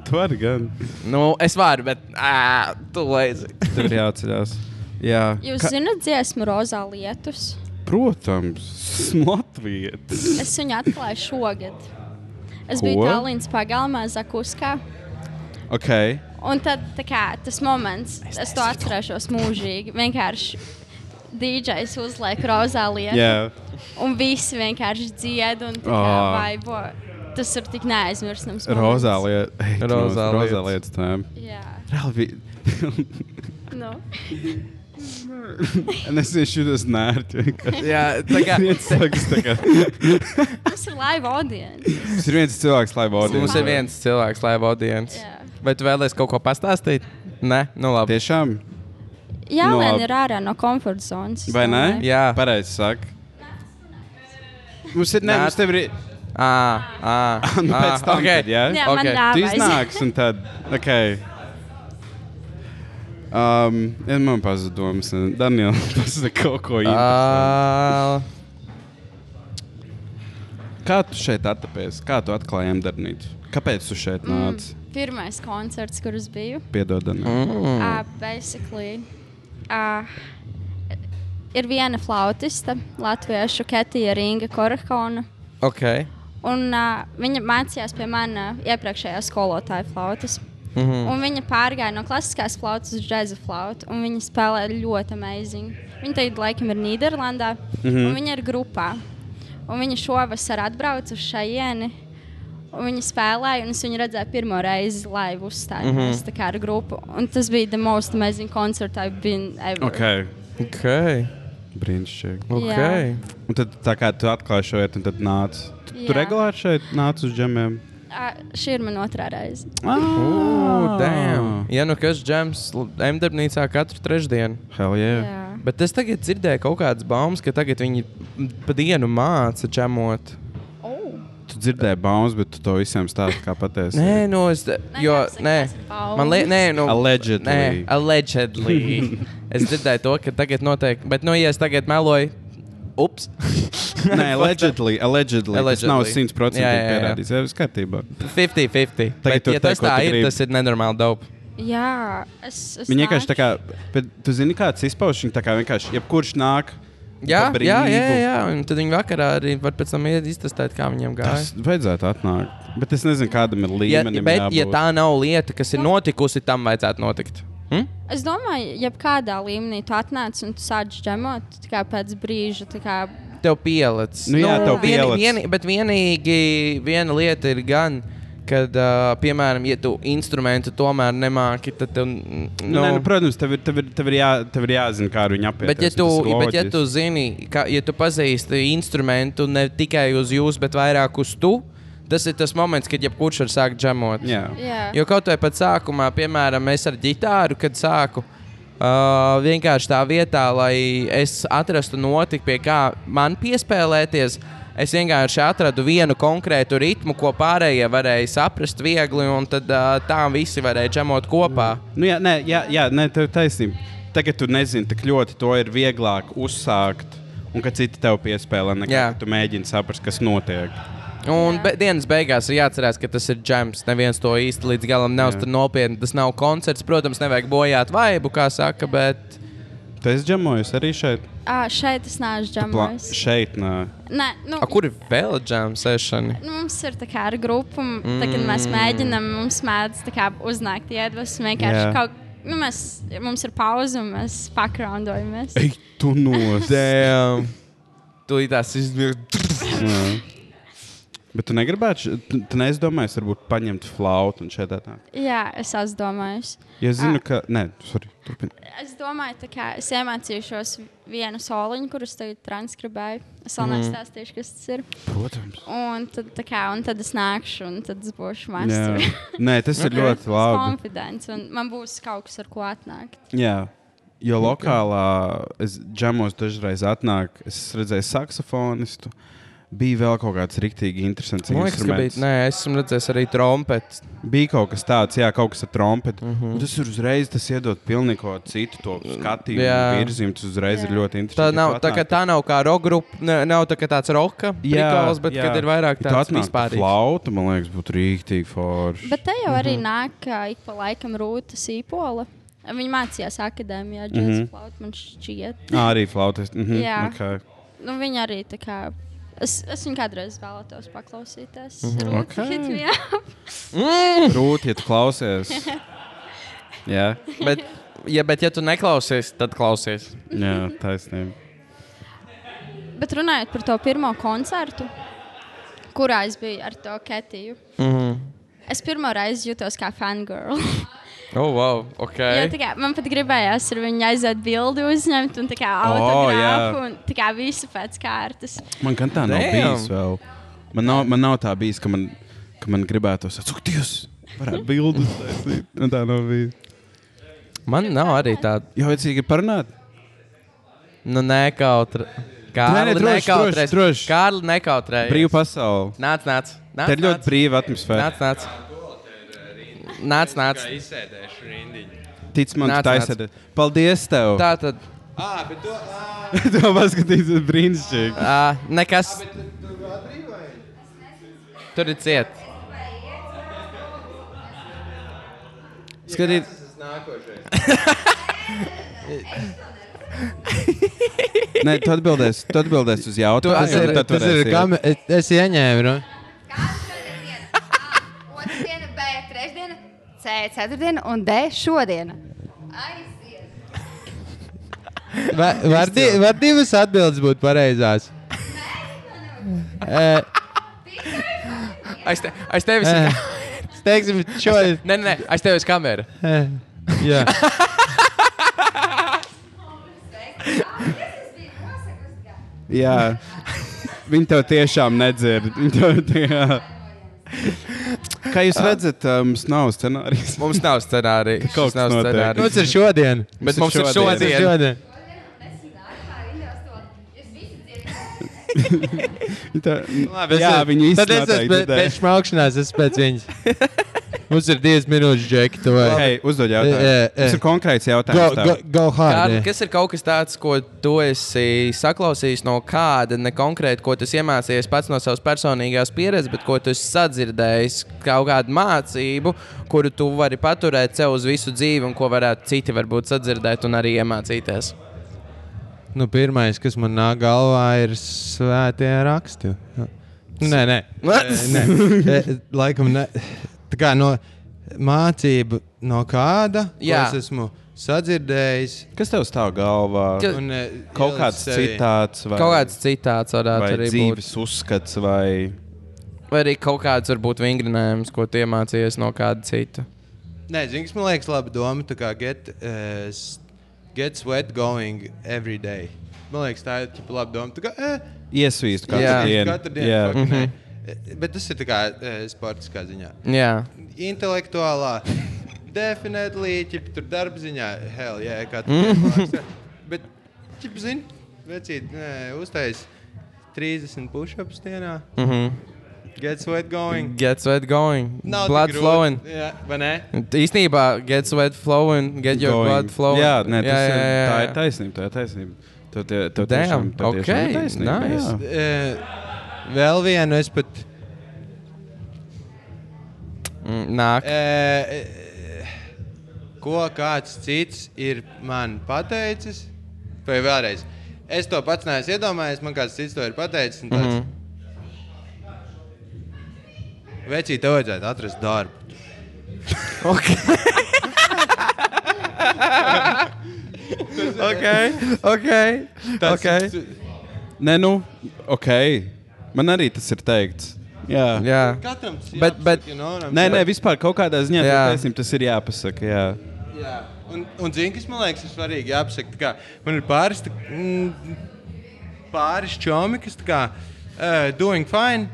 Tu vari gan. nu, es varu, bet ā, tu leizi. Tev ir jāatcerās. Jā, Jūs zināt, dziesmu rozā lietus. protams, Latvijas. Es viņu atklāju šogad. Es biju Ko? Tallinas pagalmā, Zakuskā. Ok, Un tad tā kā, tas moments, es, es to atcerēšos mūžīgi. Vienkārši DJs uzliek rozā lietu. jā. Un visi vienkārši dzied un tā kā Ā. vaibo. Tas ir tik neaizmirstams. moments. Rozā lieta. Ei, tu Rozā mums Rozā lietas. lieta tēm. Jā, Reāli. nu. vi- Un es vienkārši jūtos nērti. vienkārši. Jā, tā kā Viens cilvēks tā kā. Tas ir live audience. Tas ir viens cilvēks, lai baudītu. mums ir viens cilvēks, live audience. Jā. Vai tu vēlēsies kaut ko pastāstīt? Nē, nu labi. Tiešām? Jā, No- no, lēn ir ārā no komforta zonas. es Nu, Vai ne? domāju. Jā. Pareizi saka. Mums ir, ne, Nā- mums tev ir. Ah, ah, Nu, pēc tam, kad, jā. Jā, Ok. okay. man Tu dāvājas. iznāks un tad. Okay. Um, ja man pazuda domas. Daniela, tas ir kaut ko īsti. Ah, Kā tu šeit atrapies? Kā tu atklājām darbnīcu? Kāpēc tu šeit nāc? Mm. Pirmais koncerts, kurus biju. Piedod, Daniela. mm. Uh, basically, uh, ir viena flautista, Latviešu Ketija Ringa Korahona. Ok. Un, uh, viņa mācījās pie manas iepriekšējā skolotāja flautas. Mm -hmm. Un viņa pārgāja no klasiskās flautas uz džēza flautu. un Viņa spēlē ļoti amazing. Viņa tagad laikam ir Nīderlandē, Mhm. mm -hmm. un viņa ir grupā. Un viņa šovasar atbrauc uz šajieni. Un Viņi spēlēja, un es viņu redzēju pirmo reizi, lai Mhm. uzstājās mm -hmm. ar grupu. Un tas bija the most amazing concert I've been ever. Ok, Ok. brīnišķīgi. Ok. Jā. Un tad tā kā tu atklāji šo vietu, un tad nāc. Tu, tu Jā. regulāri šeit nāc uz džemiem. Ā, Šī ir mana otrā reize. Ooh, Ah. damn. Ja nu kas džems l- M-darbnīcā katru trešdienu. Hell yeah. Jā. Bet es tagad dzirdēju kaut kādas baumas, ka tagad viņi pa dienu māca čemot. Oh. Tu dzirdēji baumas, bet tu to visiem stāsti kā patiesi. Nē, no es. Jo, jāpasaka, nē, tās ir baumas. man liekas, nē, no. nu, Allegedly. Nē, allegedly. es dzirdēju to, ka tagad notiek. Bet, nu, ja es tagad meloju, ups. Nē, allegedly, allegedly. allegedly. Tas nav Allegedly. 100% Jā, jā, jā. pierādīts. Jā, viss kārtībā. 50-50. Tagad Bet, tu Ja tas teik, ko tā tu ir, gribi. tas ir nenormāli daudz. Jā, es. es Viņa vienkārši tā kā, nāku. bet tu zini, kāds izpaužas. Viņa tā kā vienkārši, jebkurš nāk, Jā, Pa jā, jā, brīvu. jā, un tad viņi vakarā arī var pēc tam iet iztestēt, kā viņiem gāja. tas vajadzētu atnākt. Bet es nezinu, kādam ir Ja, līmenim. bet, ja jābūt. tā nav lieta, kas Nu. ir notikusi, tam vajadzētu notikt. Hm? Es domāju, ja kādā līmenī tu atnāc un tu sāc džemot, tu tā kā pēc brīža. tā Kā, Tev pielicis. Nu jā, tev vieni- pielicis. vieni- Bet vienīgi viena lieta ir gan. Kad, uh, piemēram, ja tu instrumentu tomēr nemāki, tad tev. mm, Nu, Nē, nu, protams, tev ir, tev, ir, tev, ir jā, tev ir jāzina, kā ar viņu apieties. Bet, ja tu, Tas ir bet, ja loģiski. tu zini, ka ja tu pazīsti instrumentu ne tikai uz jums, bet vairāk uz tu, tas ir tas moments, kad jebkurš var sākt džemot. Jā. jā. Jo kaut vai pat sākumā, piemēram, es ar ģitāru, kad sāku. Uh, vienkārši tā vietā, lai es atrastu notiku, pie kā man piespēlēties. Es vienkārši atradu vienu konkrētu ritmu, ko pārējie varēja saprast viegli, un tad uh, tā visi varēja džemot kopā. Nu, jā, nē, jā, jā, nē tev ir taisnība. Tagad tu nezini, cik ļoti to ir vieglāk uzsākt. Un ka citi tev piespēlē, nekā Jā. ka tu mēģini saprast, kas notiek. Un be, dienas beigās ir jāatcerās, ka tas ir džems. Neviens to īsti līdz galam neuztver nopietni. Tas nav koncerts. Protams, nevajag bojāt vaibu, kā saka, bet Tu esi džemojis arī šeit? À, šeit es nāku Pla- džemot. šeit, nē. Nē, nu, A, kur ir vēl džem sešana? Nu, mums ir tā kā ar grupu, mm. tā, kad mēs mēģinām, mums mēdz tā kā uznākt iedvesmu. Vienkārši Jā. kaut nu, mēs, mums ir pauze, un mēs pakraundojamies. Ei, tu nozdēji! Damn! Tu tās izdarīji. Bet tu negribētu, š- tu, tu neizdomājies, varbūt paņemt flautu un šeit tā. Jā, es esmu domājis. Ja zinu, ka. Nē, sorry, turpini. Es domāju, tā kā es iemācīšos vienu soliņu, kurus tagad transkribēju. Es vēl Mm. nestāstīšu, kas tas ir. Protams. Un tad, tā kā, un tad es nākšu, un tad es būšu Jā. mākslinieks. Nē, tas ir ļoti labi. Konfidents, un man būs kaut kas, ar ko atnākt. Jā. Jo lokālā es džemos dažreiz atnāk, es redzēju saksofonistu. Bija vēl kaut kāds rīktīgi interesants Man liekas, ka instruments. bija. Nē, es esmu redzējis arī trompeti. bija kaut kas tāds, jā, kaut kas ar trompeti. Mm -hmm. Tas ir uzreiz, tas iedod pilnīgi ko citu to skatījumu, Jā. virzību. Tas uzreiz Jā. ir ļoti interesanti. Tā ja tu nav tā, ka atnāc- tā nav kā roka grupa, ne, nav tā kā tāds roka prikals, bet kad ir vairāk tāds vispār. vispārīgs. Flauta, man liekas, būtu rīktīgi forši. Bet te jau arī nāk, ka ik pa laikam rūta sīpola. Viņa mācījās akadēmijā, jau Mhm. tādā formā, man šķiet. Ā, arī flautas. Mm -hmm. Jā. okay. Nu, viņa arī tā kā. Es, es viņu kādreiz vēlētos paklausīties. Mm -hmm. Okay. okay. Mm! Rūti, ja tu klausies. jā, Bet, ja, bet, ja tu neklausies, tad klausies. jā taisnība. Bet runājot par to pirmo koncertu, kurā es biju ar to Ketiju, Mhm. es pirmo reizi jutos kā fangirl. Oh, wow, ok. Jo, tā kā, man pat gribējās ar viņu aiziet bildi uzņemt un tā kā O, jā. autogrāfu oh, un tā kā visu pēc kārtas. Man gan tā nav Damn. bijis vēl. Man nav, man nav tā bijis, ka man, ka man gribētos atsūkties. Varētu bildes taisīt. Man tā nav bijis. Man nav arī tāda. Jā, vecīgi parunāt. Nu, nekautra. Nē, nē, Kārli, droši, nekautrēs. droši, droši. Kārli, nekautrēs. Brīva pasaule. Nāc, nāc. nāc, Tā ir ļoti nāc. brīva atmosfēra. Nāc, nāc. Nāc, nāc. izsēdēšu rindiņu. Tic man, Nāc, tā ir. Paldies tev! Tā tad Ah, bet to. Ah, Tu paskatīsies brīnišķīgi. uh, nekas. Tur ir ciet. Skatīt, tas nākošais. Nē, tu atbildēsi, tu atbildēsi uz jautājumu. Tas Tas ir, ir- tad tu tas ir varēsi kam es, es ieņēmu. Nu? Ah, Otrdiena, B, trešdiena, C, ceturtdiena un D šodiena. Aiziet! Va- Var, di, var divas atbildes būt pareizās. Eh, Aiz, te, aiz tevis ir Eh. ka- Teiksim, šodien. Nē, nē, nē, aiz tevis ir kamera. Eh, Jā. Jā, viņi tev tiešām nedzird. Viņi Tev, tie- jā. Kā jūs redzat, uh, mums nav scenārijas. Mums nav scenārija. Kaut Mums nav kas notiek. scenārija. Mums ir šodien. Bet mums ir šodien. Mums ir šodien. šodien. Viņi tev- Labi, es- jā, viņi Tad es esmu izsmeļoties. pēc- pēc smaukšanās, es pēc viņas. Mums ir 10 minūtes, Džeki. tu vari. Hei, uzdod Jā, jā. jautājumu. Tas ir konkrēts Go, jautājums. go, tev. go hard. eh. Kā, jā. kas ir kaut kas tāds, ko tu esi saklausījis no kāda ne konkrēti, ko tu esi iemācījies pats no savas personīgās pieredzes, bet ko tu esi sadzirdējis, kaut kādu mācību, kuru tu vari paturēt sev uz visu dzīvi un ko varētu citi varbūt sadzirdēt un arī iemācīties? Nu, pirmais, kas man nāk galvā, ir svētie raksti. Nē, nē, nē. E, laikam, ne. tā kā no mācību no kāda, ko Jā. es esmu sadzirdējis. Kas tev stāv galvā? Ka- Un, e, Kaut ielicis kāds sevi. citāts vai, Kaut kāds citāds varētu vai arī būt. dzīves uzskats vai. Vai arī kaut kāds varbūt vingrinājums, ko tu iemācījies no kāda cita. Nē, zini, kas man liekas, laba doma. Tā kā get, uh, get sweat going every day. Man liekas, tā ir ķipa, laba doma. Tā kā, eh, Iesvīst katru Jā. dienu. Katru dienu. Jā. fuck, nē. Eh, Bet tas ir tā kā uh, sportiskā ziņā. Jā, intelektuālā, definitely, ķip, tur darba ziņā, hell, jā, kā Mhm. tur bija. Bet, ķip, zini, vecīt, nē, uztais 30 push-ups dienā, mm -hmm. get sweat going. get sweat going, Nav tik blood grūti. flowing. Jā, vai ne? Īsnībā, get sweat flowing, get your Going. blood flowing. Jā, nē, tas jā, ir- jā, jā. tā ir taisnība. Tā ir taisnība. Tev tie- tev Damn, tiešām- tev tiešām okay, ir taisnība, nice. jā. Eh, Vēl vienu es pat. Mm, Nāk. eh, eh, Ko kāds cits ir man pateicis? Vai vēlreiz? Es to pats neesmu iedomājies, man kāds cits to ir pateicis. un Tāds, mm Mhm. -hmm. Vecī, tev vajadzētu atrast darbu. Okay, okay, okay. Nē, nu, ok. Man arī tas ir teikts. Jā, jā. Jā. Katram tas Bet- jāpasaka, bet- you know what I'm Nē, nē, saying? vispār kaut kādā ziņā jā. Jā. Taisnība, tas ir jāpasaka. Jā. Jā. Un, un zini, kas man liekas, ir svarīgi jāapsaka. tā Kā, man ir pāris, tā- mm, pāris čomi, kas tā kā uh, doing fine.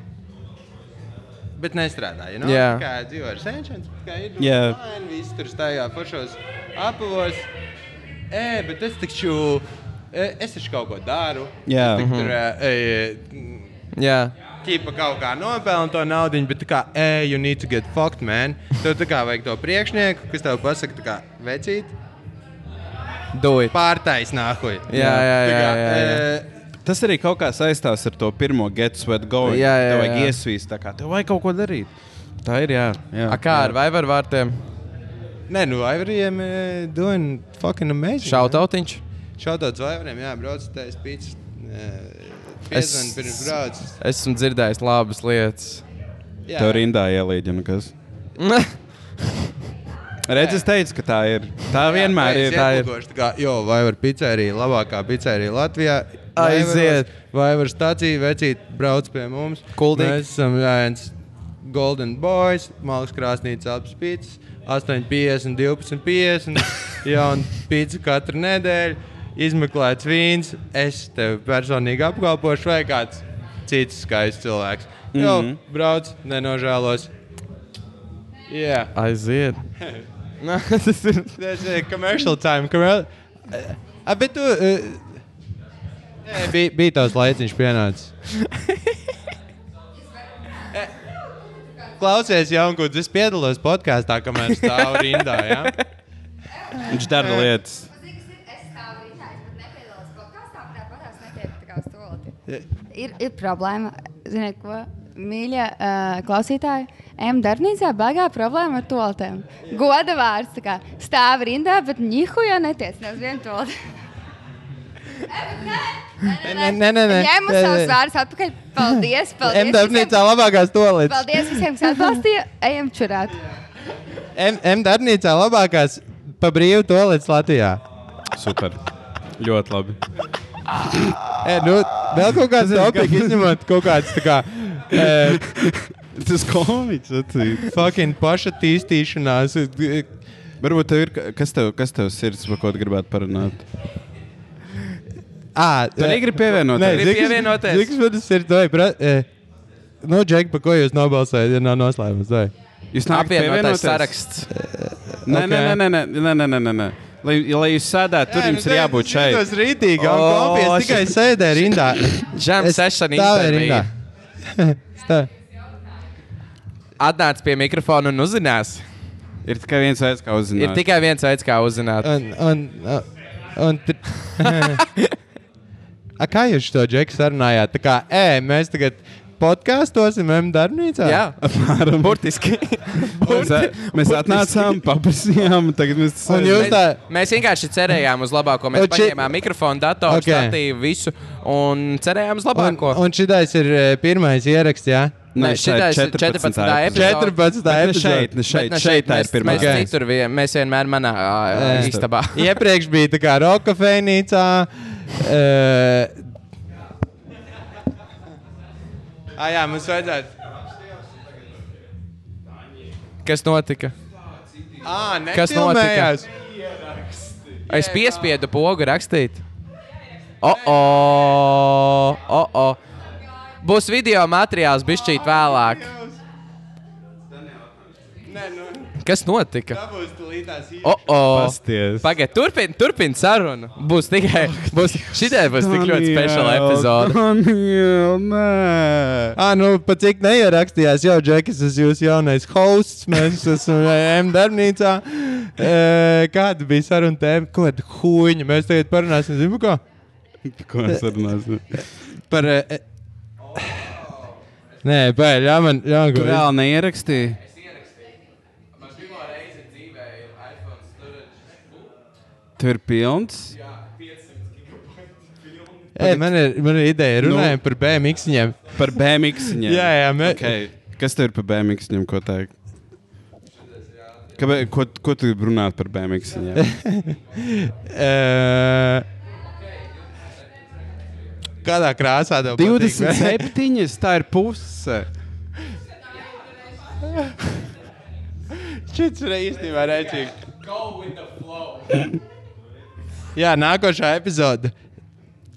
Bet nestrādā. You know? Jā. Tā Kā dzīvo ar senčiem, kā ir. Jā. Yeah. Fine, visi tur stāvā foršos apavos. E, bet es taču, e, es taču kaut ko daru. Jā. mhm. Es taču Tur, e, e, Jā. Ķipa kaut kā nopelna to naudu, bet tā kā, ej, you need to get fucked, man. Tev tā kā vajag to priekšnieku, kas tev pasaka, tā kā, vecīt, Do it. pārtais nākoja. Jā, jā, jā, jā, jā. eh, Tas arī kaut kā saistās ar to pirmo get sweat going. Jā, jā, Tev vajag jā. iesvīst, tā kā tev vajag kaut ko darīt. Tā ir jā. jā. A kā ar vai ar vārtiem? Nē, nu, Aivariem eh, doing fucking amazing. Šautautiņš. Mhm. Šautot Aivariem, jā, brauc taisa pīcis. Piezvan Es- pirms brauc. Esmu dzirdējis labas lietas. Jā. Tev rindā ielīdina kas. Redz, es teicu, ka tā ir. Tā vienmēr Jā, ir. Tā ir. ieplūkoši, tā kā, jo, vai var pizzerija, labākā pizzerija Latvijā. Aiziet. Vai var stācija, vecīt, brauc pie mums. Kuldīgi. Mēs esam jā, viens Golden Boys, Malks krāsnīca apspīts, 8,50, 12,50, jauna pizza katru nedēļu, izmeklēts vīns, es tevi personīgi apkalpošu vai kāds cits skaists cilvēks. Jo, mm Mhm. -hmm. brauc, nenožēlos. Jā. Yeah. Aiziet. Nā, tas ir. There's a commercial time. Commer uh, I bet tu. Uh, nē, bija, bija tās laiciņš pienācis. Eh, Klausies, Jankūds, es piedalos podkāstā, kamēr stāv rindā. Ja? Viņš dara lietas. Ir, ir problēma. Ziniet, ko? Mīļa uh, klausītāja, M. Dārnīcā bagā problēma ar toaletēm. Goda vārds. tā kā Stāv rindā, bet nihuja netiec ne uz vienu toaleti. Nē, nē, nē, nē. Ņēmu Nē, savus nē. vārdus atpakaļ. Paldies! M. paldies darbnīcā visiem. labākās toaletes. Paldies visiem, kas atbalstīja. Ejam čurāt. M. M darbnīcā labākās pa brīvu toaletes Latvijā. Super. Ļoti labi. Eh, E, nu, vēl kaut kāds topiks, izņemot kaut kāds tā kā. E, Tas komiķis atcīm. Fucking pašatīstīšanās. Varbūt tev ir, ka- kas tev, kas tev sirds, par ko tu gribētu parunāt? Ā, Tu arī gribi pievienot. Nē, Gribi pievienoties? Ziks, man tas ir doji. Pra... e, Nu, Džek, pa ko jūs nobalsojat, ja nav noslēgums? Doji. Jūs nākat Apvienotās pievienoties? saraksts. Nē, nē, Ok. nē, nē, nē, nē, nē, nē, nē. Lai, lai jūs sēdētu, tur nu, jums ir jābūt šeit. Tas rītīgi, un O, kopīgi es tikai sēdēju rindā. Džem sešana stāvēju intervija. Stāvēju. Atnāc pie mikrofona un uzzinās. Ir tikai viens veids, kā Ir uzzināt. tikai viens veids, kā uzzināt. Un, un, un, un t... A, kā jūs to džeku sarunājāt? Tā kā, ē, mēs tagad podkāstosim M darbnīcā? Jā, Apmēram. burtiski. Mēs, a- mēs atnācām, paprasījām, un tagad mēs Un jūs Mēs, tā, mēs vienkārši cerējām uz labāko. Mēs Un šī- paņēmām mikrofonu, datoru, Ok. okay. statīvu, visu un cerējām uz un, labāko. un šitais ir e, pirmais ieraksts, jā? Nē, šitais 14. epizode. 14. Ne epizode. šeit, ne šeit, Bet ne šeit tā ir mēs, pirmā. Mēs, reize. citur, vien, mēs vienmēr manā ā, Ē. istabā. Iepriekš bija tā kā Rokafēnīcā. Uh, ah, jā, mums vajadzētu. Kas notika? Ah, Kas Es piespiedu pogu rakstīt. O, o, o, o. Būs video materiāls, bišķīt vēlāk. Kas notika? O, o. Pasties. Pagaidiet, turpin, turpin sarunu. Būs tikai, būs, šitai būs Nu, tik ļoti speciāla epizode. Daniel, nē. Ah, nu, pat cik neierakstījās, jau Džekis, es esmu jūsu jaunais hosts. Mēs esam eh, M darbnīcā. E, kāda bija saruna tēma? Ko tad huņa? Mēs tagad parunāsim, zinu, ko? Ko mēs runāsim? Par. E, Nē, pēc, jā, man, jā, man, Tu reāli neierakstīji? Tu ir pilns? Ei, man ir, man ir ideja, Nu. runājam par BMX. -iņiem. Par BMX. -ņiem. Jā, jā, mē- Okay. Kas tev ir par BMX? -ņiem, ko teikt? Kāpēc, ko, ko tu gribi runāt par BMX? -ņiem? Ē, Eh, Kādā krāsā tev patīk? 27, tā ir puse. Šis ir īstenībā rēcīgi. Jā, nākošā epizode.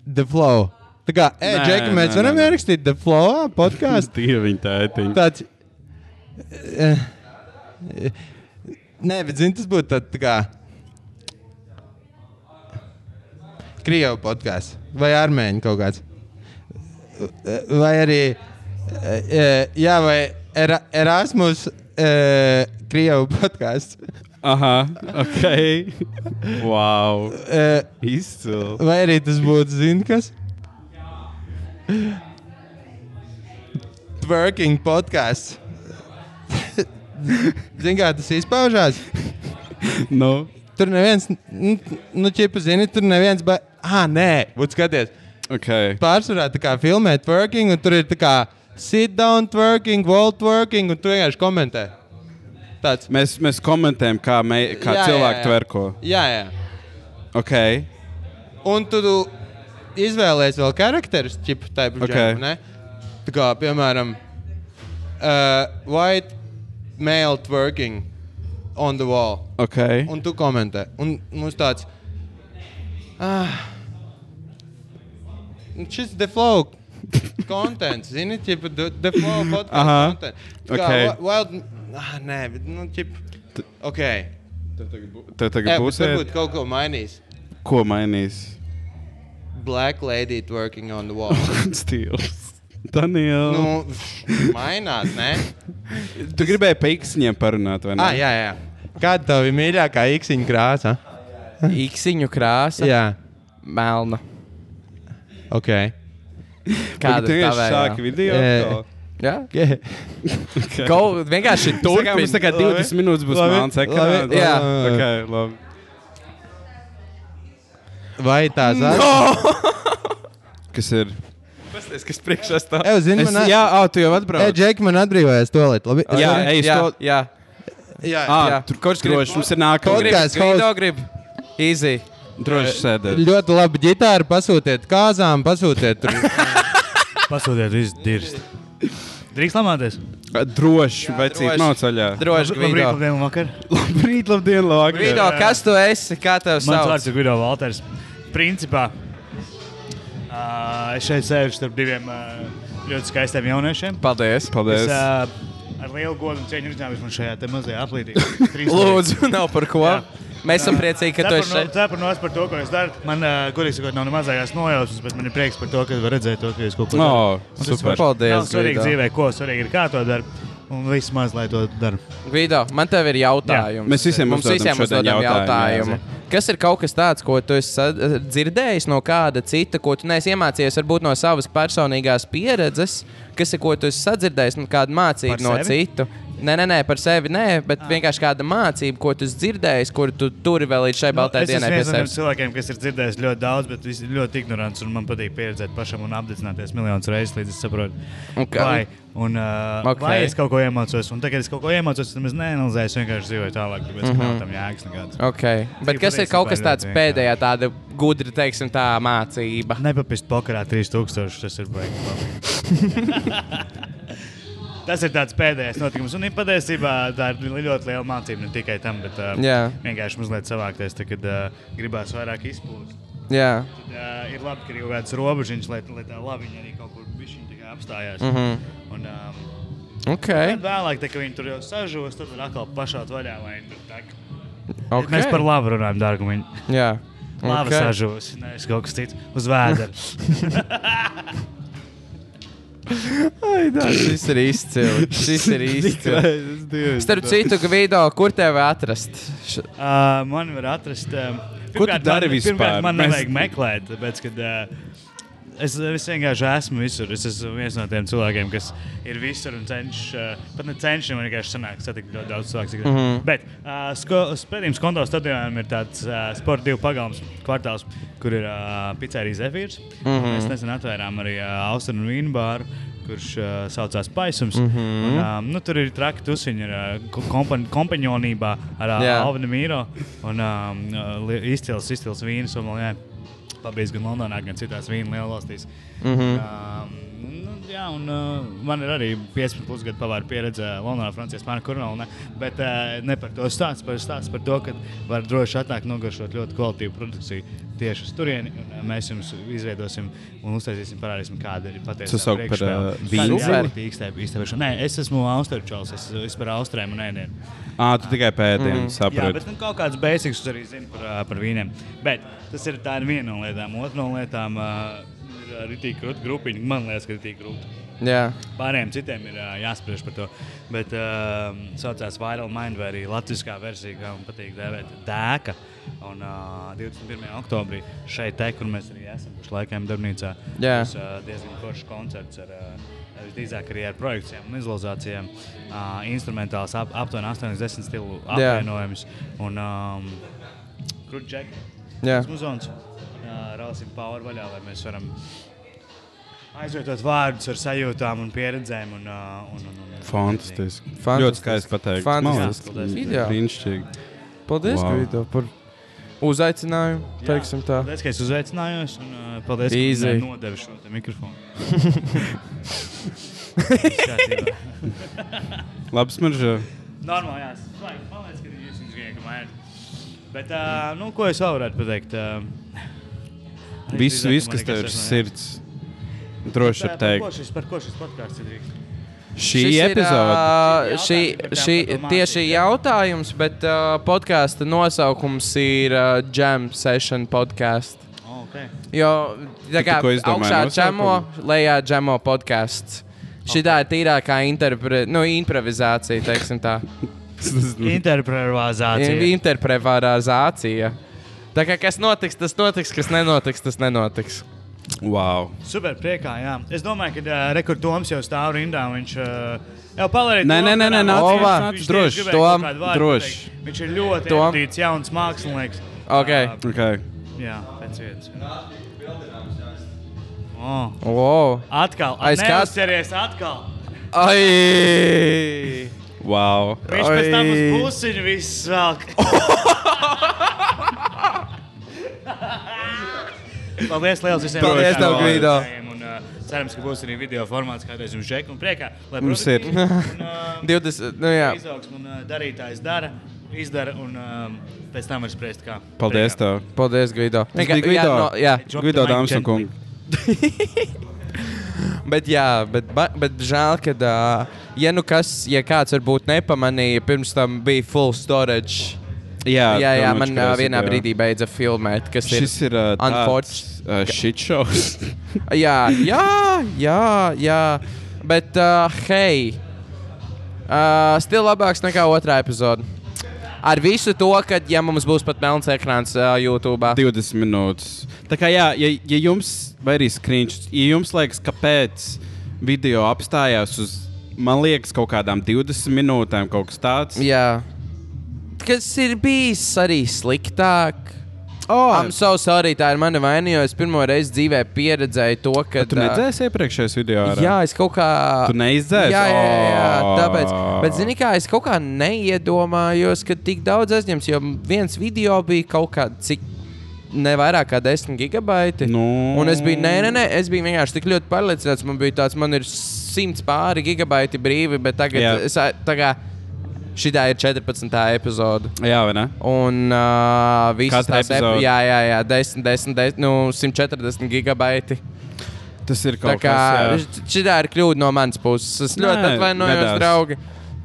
The Flow. Tā kā, ej, Nē, Džeki, nē, mēs varam nē, nē. ierakstīt The Flow podkāstu. Dieviņa tētiņa. Tāds. eh, eh, Nē, bet zini, tas būtu tāds tā kā. Krievu podkāsts vai armēņu kaut kāds. Eh, Vai arī. eh, eh, Jā, vai Era- Erasmus eh, Krievu podkāsts. Aha, ok. Wow. Eh, Izcili. Vai arī tas būtu, zini, kas? Twerking podkāsts. Zini, kā tas izpaužās? Nu, Tur neviens, nu, nu čipa, zini, tur neviens, bet, ah, nē, būtu skaties. ok. Pārsvarā tā kā filmē twerking, un tur ir tā kā sit down twerking, wall twerking, un tu vienkārši komentē. Tāds. Mēs, mēs komentējam, kā, me, kā Jā, jā, cilvēki jā. tverko. Jā, jā. Ok. Un tu, tu izvēlējies vēl karakterus, tipu tādu Ok. okay. tā kā, piemēram, uh, white male twerking on the wall. Ok. Un tu komentē. Un mums tāds. Ah, nu šis the flow. Konteksts, zini, tipu the the flow Aha. podkāsts. Tā kā Ok. wi- wild, ah, nē, bet, nu, tipu, Tu- ok. Tev Jā, tagad bet būs varbūt kaut ko mainīs. Ko mainīs? Black lady twerking on the wall. Stils. Daniel. Nu, Nu, mainās, nē. tu gribēji par īksņiem parunāt, vai ne? Ah, jā, jā. Kāda tev ir mīļākā īksiņa krāsa? Iksiņu krāsa. Jā, Melna. ok. Kāda tu tā vienkārši sāki vēl? video? Ē. atkal? Jā, Okay. kaut vienkārši Tur mums turpin. tā kā 20 minūtes būs Labi. melns Labi. ekrāns. Jā. okay, labi. Vai tā zvaigznes? Kas ir? Pasties, kas priekšā stāv. Jā, zini, Es, man jā, oh, tu jau Ej, atbrauc. Džeki, man atbrīvojās to lietu. Labi, Jā, ej, uz jā, to- jā. jā. Ah, jā. tur kaut kas droši. Mums ir nākamais. Podkā- Podcasts, Gribu, gribu. Easy. Droši sēdēt. Ļoti labi ģitāra, pasūtiet kāzām, pasūtiet tur. Pasūtiet, viss dirst. Drīkst lamāties? Droši, vecīt, droši. nav ceļā. Droši Labrīt, vien. labdien, vakar. Labrīt, labdien, labdien. Vido, kas tu esi? Kā tev Mans vārds sauc? ir Guido Valters. Principā ā, es šeit sēžu starp diviem ā, ļoti skaistiem jauniešiem. Paldies. Es, Paldies. ā, ar lielu godu un cieņu uzņēmu man šajā te mazajā aplītī. Trīs Lūdzu, nav par ko. Jā. Mēs esam priecīgi, ka tu esi šeit. Cepurnos par to, ko jūs darat. Man, ā, godīgi sakot, nav ne mazākās nojausmas, bet man ir prieks par to, ka var redzēt to, ka jūs kaut ko No, darat. Un tas super. var- Paldies, Nav svarīgi Guido. dzīvē, ko svarīgi ir, kā to dara. Un vismaz, lai to dara. Vido, man tev ir jautājums. Jā, mēs visiem mums uzdodam visiem šodien uzdodam jautājumu. jautājumu, Kas ir kaut kas tāds, ko tu esi sa- dzirdējis no kāda cita, ko tu neesi iemācījies, varbūt no savas personīgās pieredzes, kas ir ko tu esi sadzirdējis no kāda mācība Par no sevi? Ah. citu? Nē, nē, nē, par sevi nē, bet vienkārši kāda mācība, ko tu esi dzirdējis, kur tu turi vēl līdz šai baltajai Nu, es esmu dienai pie viens no tiem sevis. cilvēkiem, kas ir dzirdējis ļoti daudz, bet viņš ir ļoti ignorants. un Man patīk pieredzēt pašam un apdedzināties miljonus reizes, līdz es saprotu, Un kā- vai, un, uh, Ok. okay. vai es kaut ko iemācos. Un tagad es kaut ko iemācos, tad es neanalizēju, es vienkārši dzīvoju tālāk. Tāpēc mm -hmm. Mhm. nav tam jēgas nekādas. Okay. Bet Cik kas ir kaut kas patiesībā tāds ļoti pēdējā, tāda gudra, teiksim, tā mācība? Nepapist pokarā 3000, tas ir baigts. Tas ir tāds pēdējais notikums. Un patiesībā tā ir li- ļoti liela mācība ne tikai tam, bet uh, Jā. vienkārši mazliet savākties, tad, kad uh, gribās vairāk izpūst. Jā, Tad, uh, ir labi, ka ir kaut kāds robežiņš, lai, lai tā labiņa arī kaut kur bišķiņ tā kā apstājās. Mm -hmm. Un, um, ok. tad vēlāk, tā, kad viņi tur jau sažos, tad var atkal pašaut vaļā. Vai, nu tā, ka- okay. Mēs par labu runājam, dārgumiņ. Jā, Lava okay. Ok. sažos, nevis kaut kas cits. Uz vēdera. Ai, tā, šis ir izcili. Šis ir izcili. Starp citu, Gvido, kur tevi atrast? Š- Uh, man var atrast. Uh, Ko tu dari vispār? Man Mēs- nevajag meklēt, tāpēc, kad, uh, es, es vienkārši esmu visur. Es esmu viens no tiem cilvēkiem, kas ir visur un cenšas. Uh, pat ne cenšas, man vienkārši sanāk, satikt ļoti daudz cilvēku. Mm Mhm. -hmm. Bet uh, sko- spēlējums konto stadionam ir tāds uh, sporta divu pagalms kvartāls, kur ir uh, pizzerija Zefīrs. Mm Mhm. -hmm. Mēs nesen atvērām arī uh, Austrānu vīnu bāru. Kurš uh, saucās Paisums. Mhm. Mm -hmm. un, um, nu, tur ir traki tusiņi, ir uh, kompa- kompanionībā ar uh, Jā. Alvinu Mīro. Un um, li- izcils, izcils vīns. Un, jā, Pabeigts gan Londonā, gan citās vīna lielvalstīs. Mm Mhm. -hmm. um, nu, jā, un uh, man ir arī 15 plus gadu pavāra pieredze uh, Londonā, Francijā, Spānijā, Kurvalnē. Bet uh, ne par to stāstu, par stāstu par to, ka var droši atnākt nogaršot ļoti kvalitīvu produkciju tieši uz turieni. Un, uh, mēs jums izveidosim un uztaisīsim, parādīsim, kāda ir patiesībā. Tu sauc par, ā, vīnu? Nē, es esmu Austrijas čels, es esmu par Austriem un ēdienu. Ā, tu tikai pēdējiem Jā, bet saprati. nu, kaut kādas beigas arī zinu par, ā, par vīniem. Bet tas ir tā ir viena no lietām. Otra no lietām ā, ir arī tā grūta grupiņa. Man liekas, ka ir tik grūti. Jā, Pārējiem citiem ir ā, jāspriež par to. Bet tā um, saucās Viral Mind, vai arī latviskā versija, kā man patīk dēvēt, dēka. Un uh, 21. oktobrī šeit, te, kur mēs arī esam, kurš laikam darbnīcā, Jā. būs uh, diezgan foršs koncerts. Ar, uh, Visdrīzāk arī ar projekcijiem un izlozācijām. Uh, instrumentāls ap, aptuveni 80 stilu Jā. apvienojums. Un um, krūtdžeki. jā. Uzmuzons. Rāsim pāri vaļā, lai mēs varam aizvietot vārdus ar sajūtām un pieredzēm. Un, ā, un, un, un, un Fantastiski. Fantastiski. Ļoti skaisti pateikt. Fantastiski. Video. Brīnišķīgi. Paldies, Wow. Gvido, par uzaicinājumu. Teiksim tā. Paldies, ka es uzaicinājos. Un, ā, paldies, Easy. ka man nodevi šo te mikrofonu. Viss kārtībā. Labs marža. Normāli, jā. svaigi. Man liekas, ka jūs viņus vienkārši mājat. Bet, ā, nu, ko es vēl varētu pateikt? Ā, Viss, visdrīzāk, vis, man kas tev liekas, ir esmu, jā. sirds. Droši Tā, var Par ko teikt. šis- par ko šis podkāsts ir? Šī Šis ir, epizode. ā, Šī Šī, šī, jautājums, par to mācību, tieši jā. jautājums, bet uh, podkāsta nosaukums ir uh, Jam Session podkāsts. Oh, okay. Jo tā kā tikko izdomāji augšā nosaukumu? džemo, lejā džemo podkāsts. Šī tā ir tīrākā interpre, nu, improvizācija, teiksim tā. Interpretācija. Interpretācija. Tā kā kas notiks, tas notiks, kas nenotiks, tas nenotiks. Wow. Super priekā, jā. Es domāju, ka uh, rekordoms jau stāv rindā. un Viņš uh, jau palarīja. Nē, nē, nē, nē, nāc, nāc, viņš droši, tieši gribēja Tom, kaut kādu vārdu droši. pateikt. Viņš ir ļoti Tom. aptīts, jauns mākslinieks. Okay. Uh, Okay. jā, pēc vietas. Oh. Wow. Atkal, Aiz kāds? aizsveries atkal. Ai! Wow. Viņš Ai. pēc tam uz Ai. pusiņu viss velk. Paldies liels visiem. Paldies tev, Gvido. Un, uh, cerams, ka būs arī video formāts kādreiz jums šeit un priekā. lai Mums ir. produktīvi un, ā, 20, nu jā. izaugsmu un ā, darītājs dara, izdara un ām, pēc tam var spriest, kā. Paldies tev. Paldies, Gvido. Tas bija jā, Gvido. no, jā. Drop Gvido the mic dāmas un gently. kungi. Bet, jā, bet, ba- bet žēl, ka, uh, ja nu kas, ja kāds varbūt nepamanīja, pirms tam bija full storage. Jā, Jā, jā domāju, man ka uh, tas ir, vienā jā. brīdī beidza filmēt, kas Šis ir uh, unfortunate. tāds uh, shit shows. Jā, jā, jā, jā. bet uh, hei, uh, stila labāks nekā otrā epizode. Ar visu to, ka, ja mums būs pat melns ekrāns uh, YouTube, 20 minūtes. Tā kā, jā, ja, ja jums, vai arī skriņš, ja jums liekas, kāpēc video apstājās uz, man liekas, kaut kādām 20 minūtēm, kaut kas tāds. Jā. kas ir bijis arī sliktāk. oh, Am so sorry, tā ir mana vaina, jo es pirmo reizi dzīvē pieredzēju to, uh, ka. tu nedzēsi iepriekšējos video. ā, Jā, es kaut kā. Tu neizdzēsi? Jā, jā, jā, jā Oh. tāpēc. Bet, zini, kā es kaut kā neiedomājos, ka tik daudz aizņems, jo viens video bija kaut kā cik. Ne vairāk kā 10 gigabaiti. Nu. Un es biju, nē, nē, nē, es biju vienkārši tik ļoti pārliecināts. Man bija tāds, man ir 100 pāri gigabaiti brīvi, bet tagad Jā. yeah. es, a- tā kā šī ir 14. epizode. jā vai ne? Un uh, visas Katra tās epizodes, epizode. jā, jā, jā, 10, 10, 10 nu, 140 gigabaiti. Tas ir Tā kaut kā kas. jā. šī ir kļūda no manas puses. Es ļoti Nē, atvainojos, medās. draugi.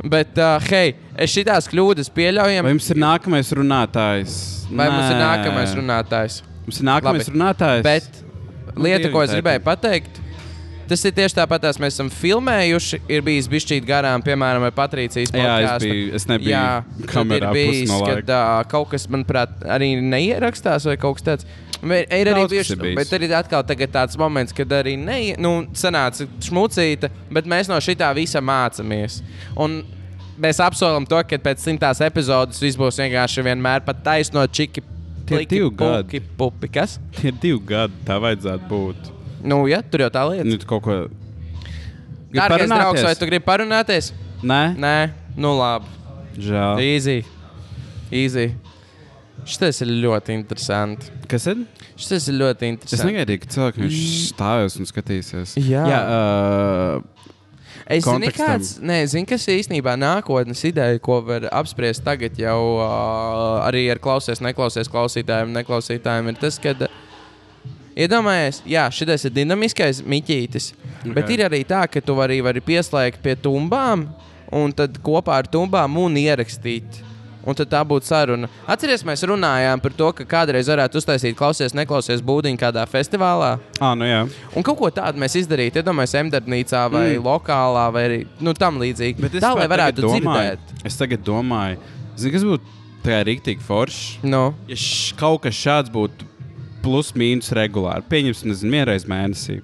Bet, uh, hei, es šitās kļūdas pieļaujam. Vai jums ir nākamais runātājs? Vai mums ir Nē. nākamais runātājs? Mums ir nākamais Labi. runātājs. Nu, Bet lieta, ko es Divi gribēju pateikt, tas ir tieši tāpat, kā mēs esam filmējuši. Ir bijis bijis garām, piemēram, ar Patricijas Jā, es podcastu. biju- es nebiju Jā, tad ir kamerā pusi bijis, no kad laika. uh, kaut kas, manuprāt, arī neierakstās vai kaut kas tāds. Vai Ir arī Daudz kas bijuši, ir bijis. bet arī atkal tagad tāds moments, kad arī neie, nu, sanāca šmucīta, bet mēs no šitā visa mācāmies. Un mēs apsolam to, ka pēc simtās epizodes viss būs vienkārši vienmēr pat taisnot čiki, Tie pliki, divi gadi. puki, pupi. Kas? Tie ir divi gadi, tā vajadzētu būt. Nu, jā, tur jau tā lieta. Nu, tu kaut ko. Gribi Dārgais draugs, vai parunāties? tu gribi parunāties? Nē, Nē, nu labi. žēl. Easy. Easy. Šis ir ļoti interesants. Kas ir? Šis ir ļoti Es interesants. negaidīju, ka cilvēki viņš stāvēs un skatīsies. Jā. Jā uh, Es zinu, kontekstam. kāds, nē, zinu, kas īstenībā nākotnes ideja, ko var apspriest tagad jau uh, arī ar klausies, neklausies klausītājiem, neklausītājiem, ir tas, ka iedomājies, jā, šis ir dinamiskais miķītis, okay. bet Ok. ir arī tā, ka tu arī vari pieslēgt pie tumbām un tad kopā ar tumbām un ierakstīt. Un tad tā būtu saruna. Atcerieties, mēs runājām par to, ka kādreiz varētu uztaisīt klausies, neklausies būdiņu kādā festivālā. ah, nu jā. Un kaut ko tādu mēs izdarītu, iedomājieties, emdarbnīcā vai mm. lokālā vai arī nu, tam līdzīgi. Bet es Tā lai pat tagad varētu domāju, dzirdēt. Es tagad domāju, zini, kas būtu tā rīktīgi forši. Nu, Ja š, kaut kas šāds būtu plus mīnus regulāri, pieņemsim, nezinu, vienreiz mēnesī.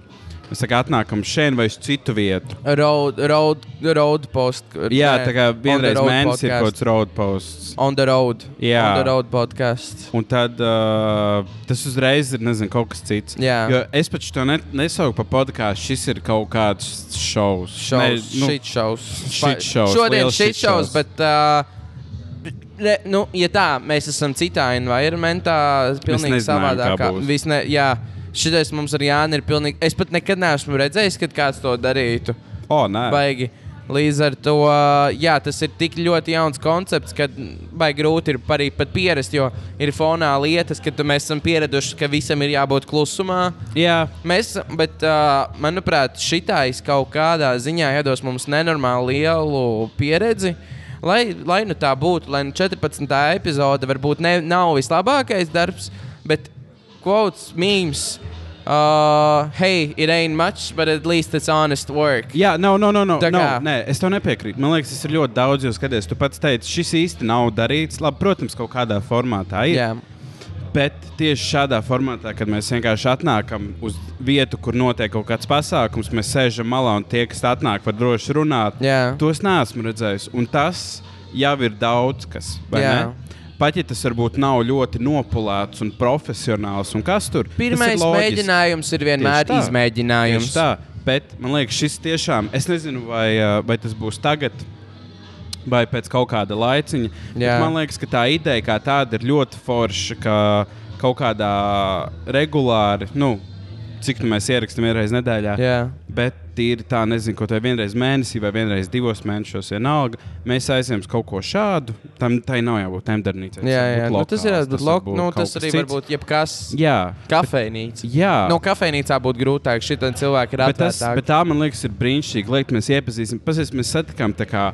Mēs tā kā atnākam šeit vai uz citu vietu. road, road, road post. Jā, nē, tā kā on the vienreiz road mēnesī podcast. ir kaut kāds road posts. On the road. Jā. On the road podkāsts. Un tad uh, tas uzreiz ir nezinu, kaut kas cits. Jā. Jo es pat to ne, nesaucu par podkāstu. Šis ir kaut kāds šovs. Šaus, Ne, nu, šit šaus. shit shows, Šodien liels šit shit šaus, shows. bet. Uh, Re, nu, ja tā, mēs esam citā environmentā, pilnīgi nezinājām, kā savādākā. būs. Vis Ne, jā, šitais mums ar Jānu ir pilnīgi. Es pat nekad neesmu redzējis, kad kāds to darītu. O, nē. Baigi. Līdz ar to, jā, tas ir tik ļoti jauns koncepts, ka baigi grūti ir arī pat pierast, jo ir fonā lietas, ka tu- mēs esam pieraduši, ka visam ir jābūt klusumā. Jā, Mēs, esam- bet, uh, manuprāt, šitais kaut kādā ziņā iedos mums nenormāli lielu pieredzi. Lai, lai nu tā būtu, lai nu 14. epizode varbūt ne, nav vislabākais darbs, bet quotes, memes, uh, hey, it ain't much, but at least it's honest work. jā nav, nav, nav. Tā nav, nav kā- nē, es tev nepiekrītu. Man liekas, tas ir ļoti daudz, jo skaties, tu pats teici, šis īsti nav darīts. Labi, protams, kaut kādā formātā ir. Jā. Bet tieši šādā formātā, kad mēs vienkārši atnākam uz vietu, kur notiek kaut kāds pasākums, mēs sēžam malā un tie, kas atnāk, var droši runāt. Jā. Tos neesmu redzējis. Un tas jau ir daudz kas. vai Jā. ne? Pat ja tas varbūt nav ļoti nopulēts un profesionāls, un kas tur Pirmais tas ir loģiski. mēģinājums ir vienmēr Tieši tā. izmēģinājums. Tieši Tā, bet man liekas, šis tiešām, es nezinu, vai, ā, vai tas būs tagad. Vai pēc kaut kāda laiciņa. bet Jā. Man liekas, ka tā ideja kā tāda ir ļoti forša, ka kaut kādā regulāri, nu, cik nu mēs ierakstām vienreiz nedēļā. Jā. Bet tīri tā, nezinu, ko tā vienreiz mēnesī vai vienreiz divos mēnešos vienalga. Mēs aizjām uz kaut ko šādu. Tam tai nav jābūt temdernīcai. Jā, jā, nu, tas ir. lokāls, Bet lok, varbūt nu, kaut tas kas arī cits. var būt jebkas. Jā, Kafejnīca. jā. No kafejnīcā būtu grūtāk. Šitam cilvēkam ir bet, tas, atvērtāk. bet tā, man liekas, ir brīnišķīgi. Liekt, mēs iepazīstināmies, pasies, mēs satikām tā kā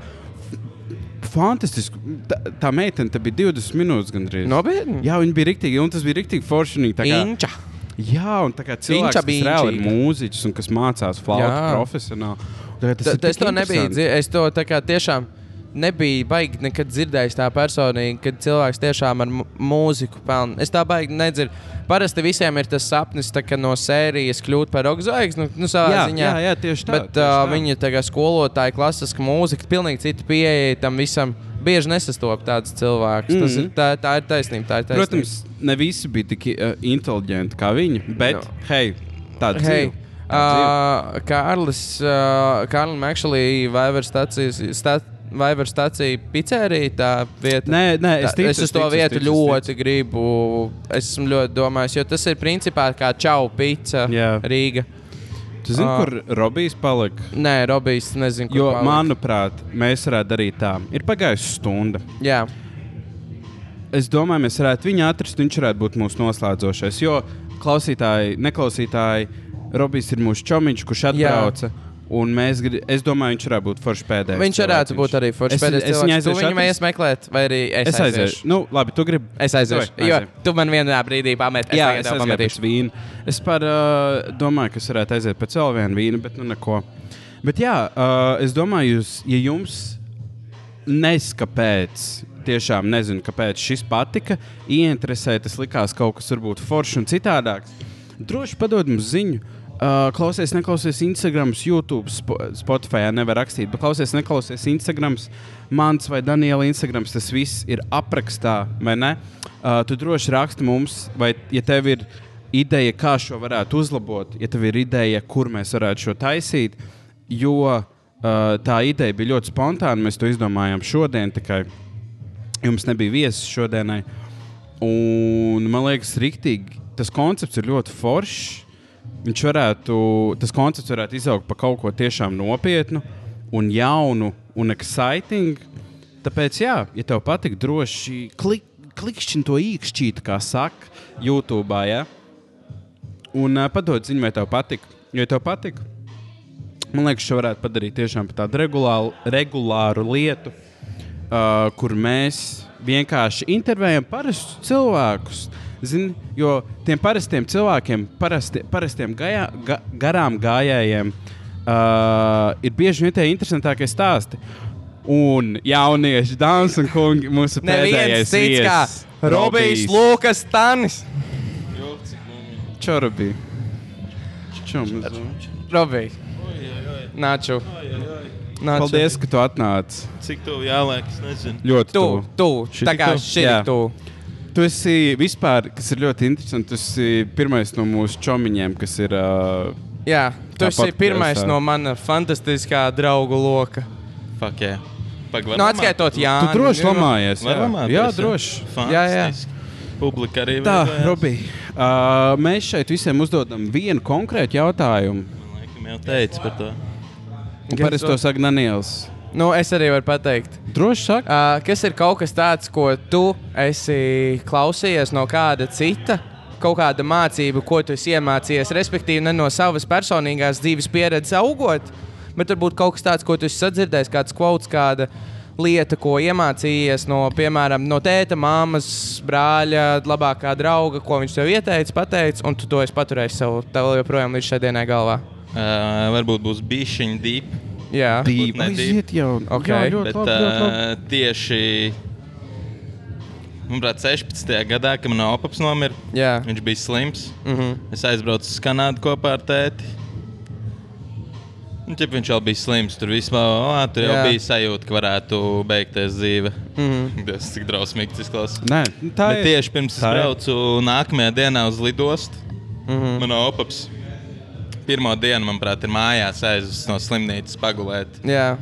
fantastisku. Tā, tā meitene te bija 20 minūtes gandrīz. Nopietni? Jā, viņa bija rīktīgi, un tas bija rīktīgi forši. un viņa tā kā- Inča. Jā, un tā kā cilvēks, Inča kas bija reāli ir inčīga. mūziķis un kas mācās Jā. flautu profesionāli. tā kā Tas Ta- ir ta- Es tik to nebiju. interesanti. dzi- Es to tā kā tiešām nebiju baigi nekad dzirdējis tā personīgi, kad cilvēks tiešām ar mu- mūziku pelna. Es tā baigi nedzirdu. Parasti visiem ir tas sapnis tā kā no sērijas kļūt par rockzvaigzni. Nu, nu, savā Jā, ziņā. jā, jā, tieši tā. Bet tieši uh, tā. viņa tagad skolotāja, klasiska mūzika, pilnīgi cita pieeja tam visam. Bieži nesastopas tāds cilvēks. Mm. Tas Mhm. ir, tā, tā ir taisnība. Tā ir taisnība. Protams, ne visi bija tik uh, inteliģenti kā viņa, bet, No. no. hei, tāda Hei, hei. uh, Kārlis, uh, Kārlim, actually, Viber stācijas, stāt, Viber stācija pizzerija, tā vieta. Nē, nē, es Tā- ticu, es uz es to ticu, es vietu ticu, es ļoti gribu. Es esmu ļoti domājis, jo tas ir principā kā čau pizza Jā. Rīga. Tu zini, Ah. kur Robijs palika? Nē, Robijs, nezinu, kur Jo, palikt. manuprāt, mēs varētu darīt tā. Ir pagājusi stunda. Jā, Es domāju, mēs varētu viņu atrast. Viņš varētu būt mūsu noslēdzošais. Jo klausītāji, neklausītāji, Robijs ir mūsu čomiņš, kurš atbrauca. Un mēs, grib- es domāju, viņš varētu būt foršs pēdējais. viņš varētu cilvēciņš. būt arī foršs Es- pēdējais. es cilvēks. viņu Tu aiziešu viņu atrast? mēs meklēt, vai arī es, Es aiziešu. Nu, labi, tu gribi. Es aiziešu. Davai, Jo aizej. tu man vienā brīdī pameti. Jā, es es tagad tev aizgāju pēc pametīšu. vīna. Es par, uh, domāju, ka es varētu aiziet pēc vēl viena vīna, bet nu neko. Bet jā, uh, es domāju, jūs, ja jums neskapēc. Tiešām nezinu, kāpēc šis patika. Ieinteresēja, tas likās kaut kas varbūt foršs un citādāks. Droši padod mums ziņu. Uh, klausies, neklausies Instagram, YouTube, Spo Spotify nevar rakstīt, bet klausies, neklausies Instagram. Mans vai Daniela Instagram, tas viss ir aprakstā, vai ne? Uh, tu droši raksti mums, vai ja tev ir ideja, kā šo varētu uzlabot, ja tev ir ideja, kur mēs varētu šo taisīt. Jo uh, tā ideja bija ļoti spontāna. Mēs to izdomājām šodien, tikai jums nebija viesis šodienai. Un man liekas, riktīgi, tas koncepts ir ļoti foršs. Viņš varētu, tas koncepts varētu izaugt par kaut ko tiešām nopietnu, un jaunu un exciting. Tāpēc, jā, ja tev patīk, droši klik, klikšķi to īkšķīt, kā saka, YouTube. Ja? Un uh, padod ziņu, vai tev patīk. Jo ja tev patīk, Man liekas, šo varētu padarīt tiešām par tādu regulāru, regulāru lietu, uh, kur mēs vienkārši intervējam parastus cilvēkus. Zini, jo tiem parastiem cilvēkiem, parasti, parastiem gajā, ga, garām gājējiem, uh, ir bieži vien tie interesantākie stāsti. Un jaunieši, dāmas un kungi, mūsu Neviens pēdējais cits kā viesis, Robijs Lukas Tanis. Čorbi. Čum, Robijs. Nāču. Nāču. Paldies, ka tu atnāci. Cik tuvu jāliek, es nezinu. Ļoti Tu, tuvu. tu, Šitik tā kā tu? šī Jā. tu. Tu esi vispār, kas ir ļoti interesanti, tu esi pirmais no mūsu čomiņiem, kas ir. Uh, Jā, tu Tāpat esi kā pirmais es, jā. no mana fantastiskā draugu loka. Fuck, jā. Pagaidām. Nu, atskaitot, Nu, jā. tu droši lamājies. Var lamāties, jā, jā. droši. Jā, jā. Publika arī Tā, veidojās. Robi, uh, mēs šeit visiem uzdodam vienu konkrētu jautājumu. Man liekas, jau teicu par to. Un Parasti to saka Daniels. Nu, es arī varu pateikt. Droši saka, Uh, kas ir kaut kas tāds, ko tu esi klausījies no kāda cita? Kaut kāda mācība, ko tu esi iemācījies, respektīvi, ne no savas personīgās dzīves pieredzes augot, bet varbūt kaut kas tāds, ko tu esi sadzirdējis, kāds kvots, kāda lieta, ko iemācījies no, piemēram, no tēta, māmas, brāļa, labākā drauga, ko viņš tev ieteica, pateica, un tu to esi paturējis sev tev joprojām līdz šai dienai galvā. Uh, varbūt būs bišķiņa deep. Jā, Deep. ka aiziet jau. Ok. Jā, ļoti Bet labi, ļoti labi. uh, tieši. Manuprāt, 16. gadā, kad manā opapā nomira, jā. viņš bija slims. Mhm. Es aizbraucu uz Kanādu kopā ar tēti. Un, ķip, viņš jau bija slims. Tur vispār ā, tur jau Jā. bija sajūta, ka varētu beigties dzīve. Mhm. Tas cik drausmīgi tas izklausās. Nē, tā Bet ir. tieši pirms es Tā ir. braucu nākamajā dienā uz lidostu, Mhm. manā opapā. Pirmā diena, manuprāt, ir mājās aizjūtas no slimnīcas pagulēt. Jā,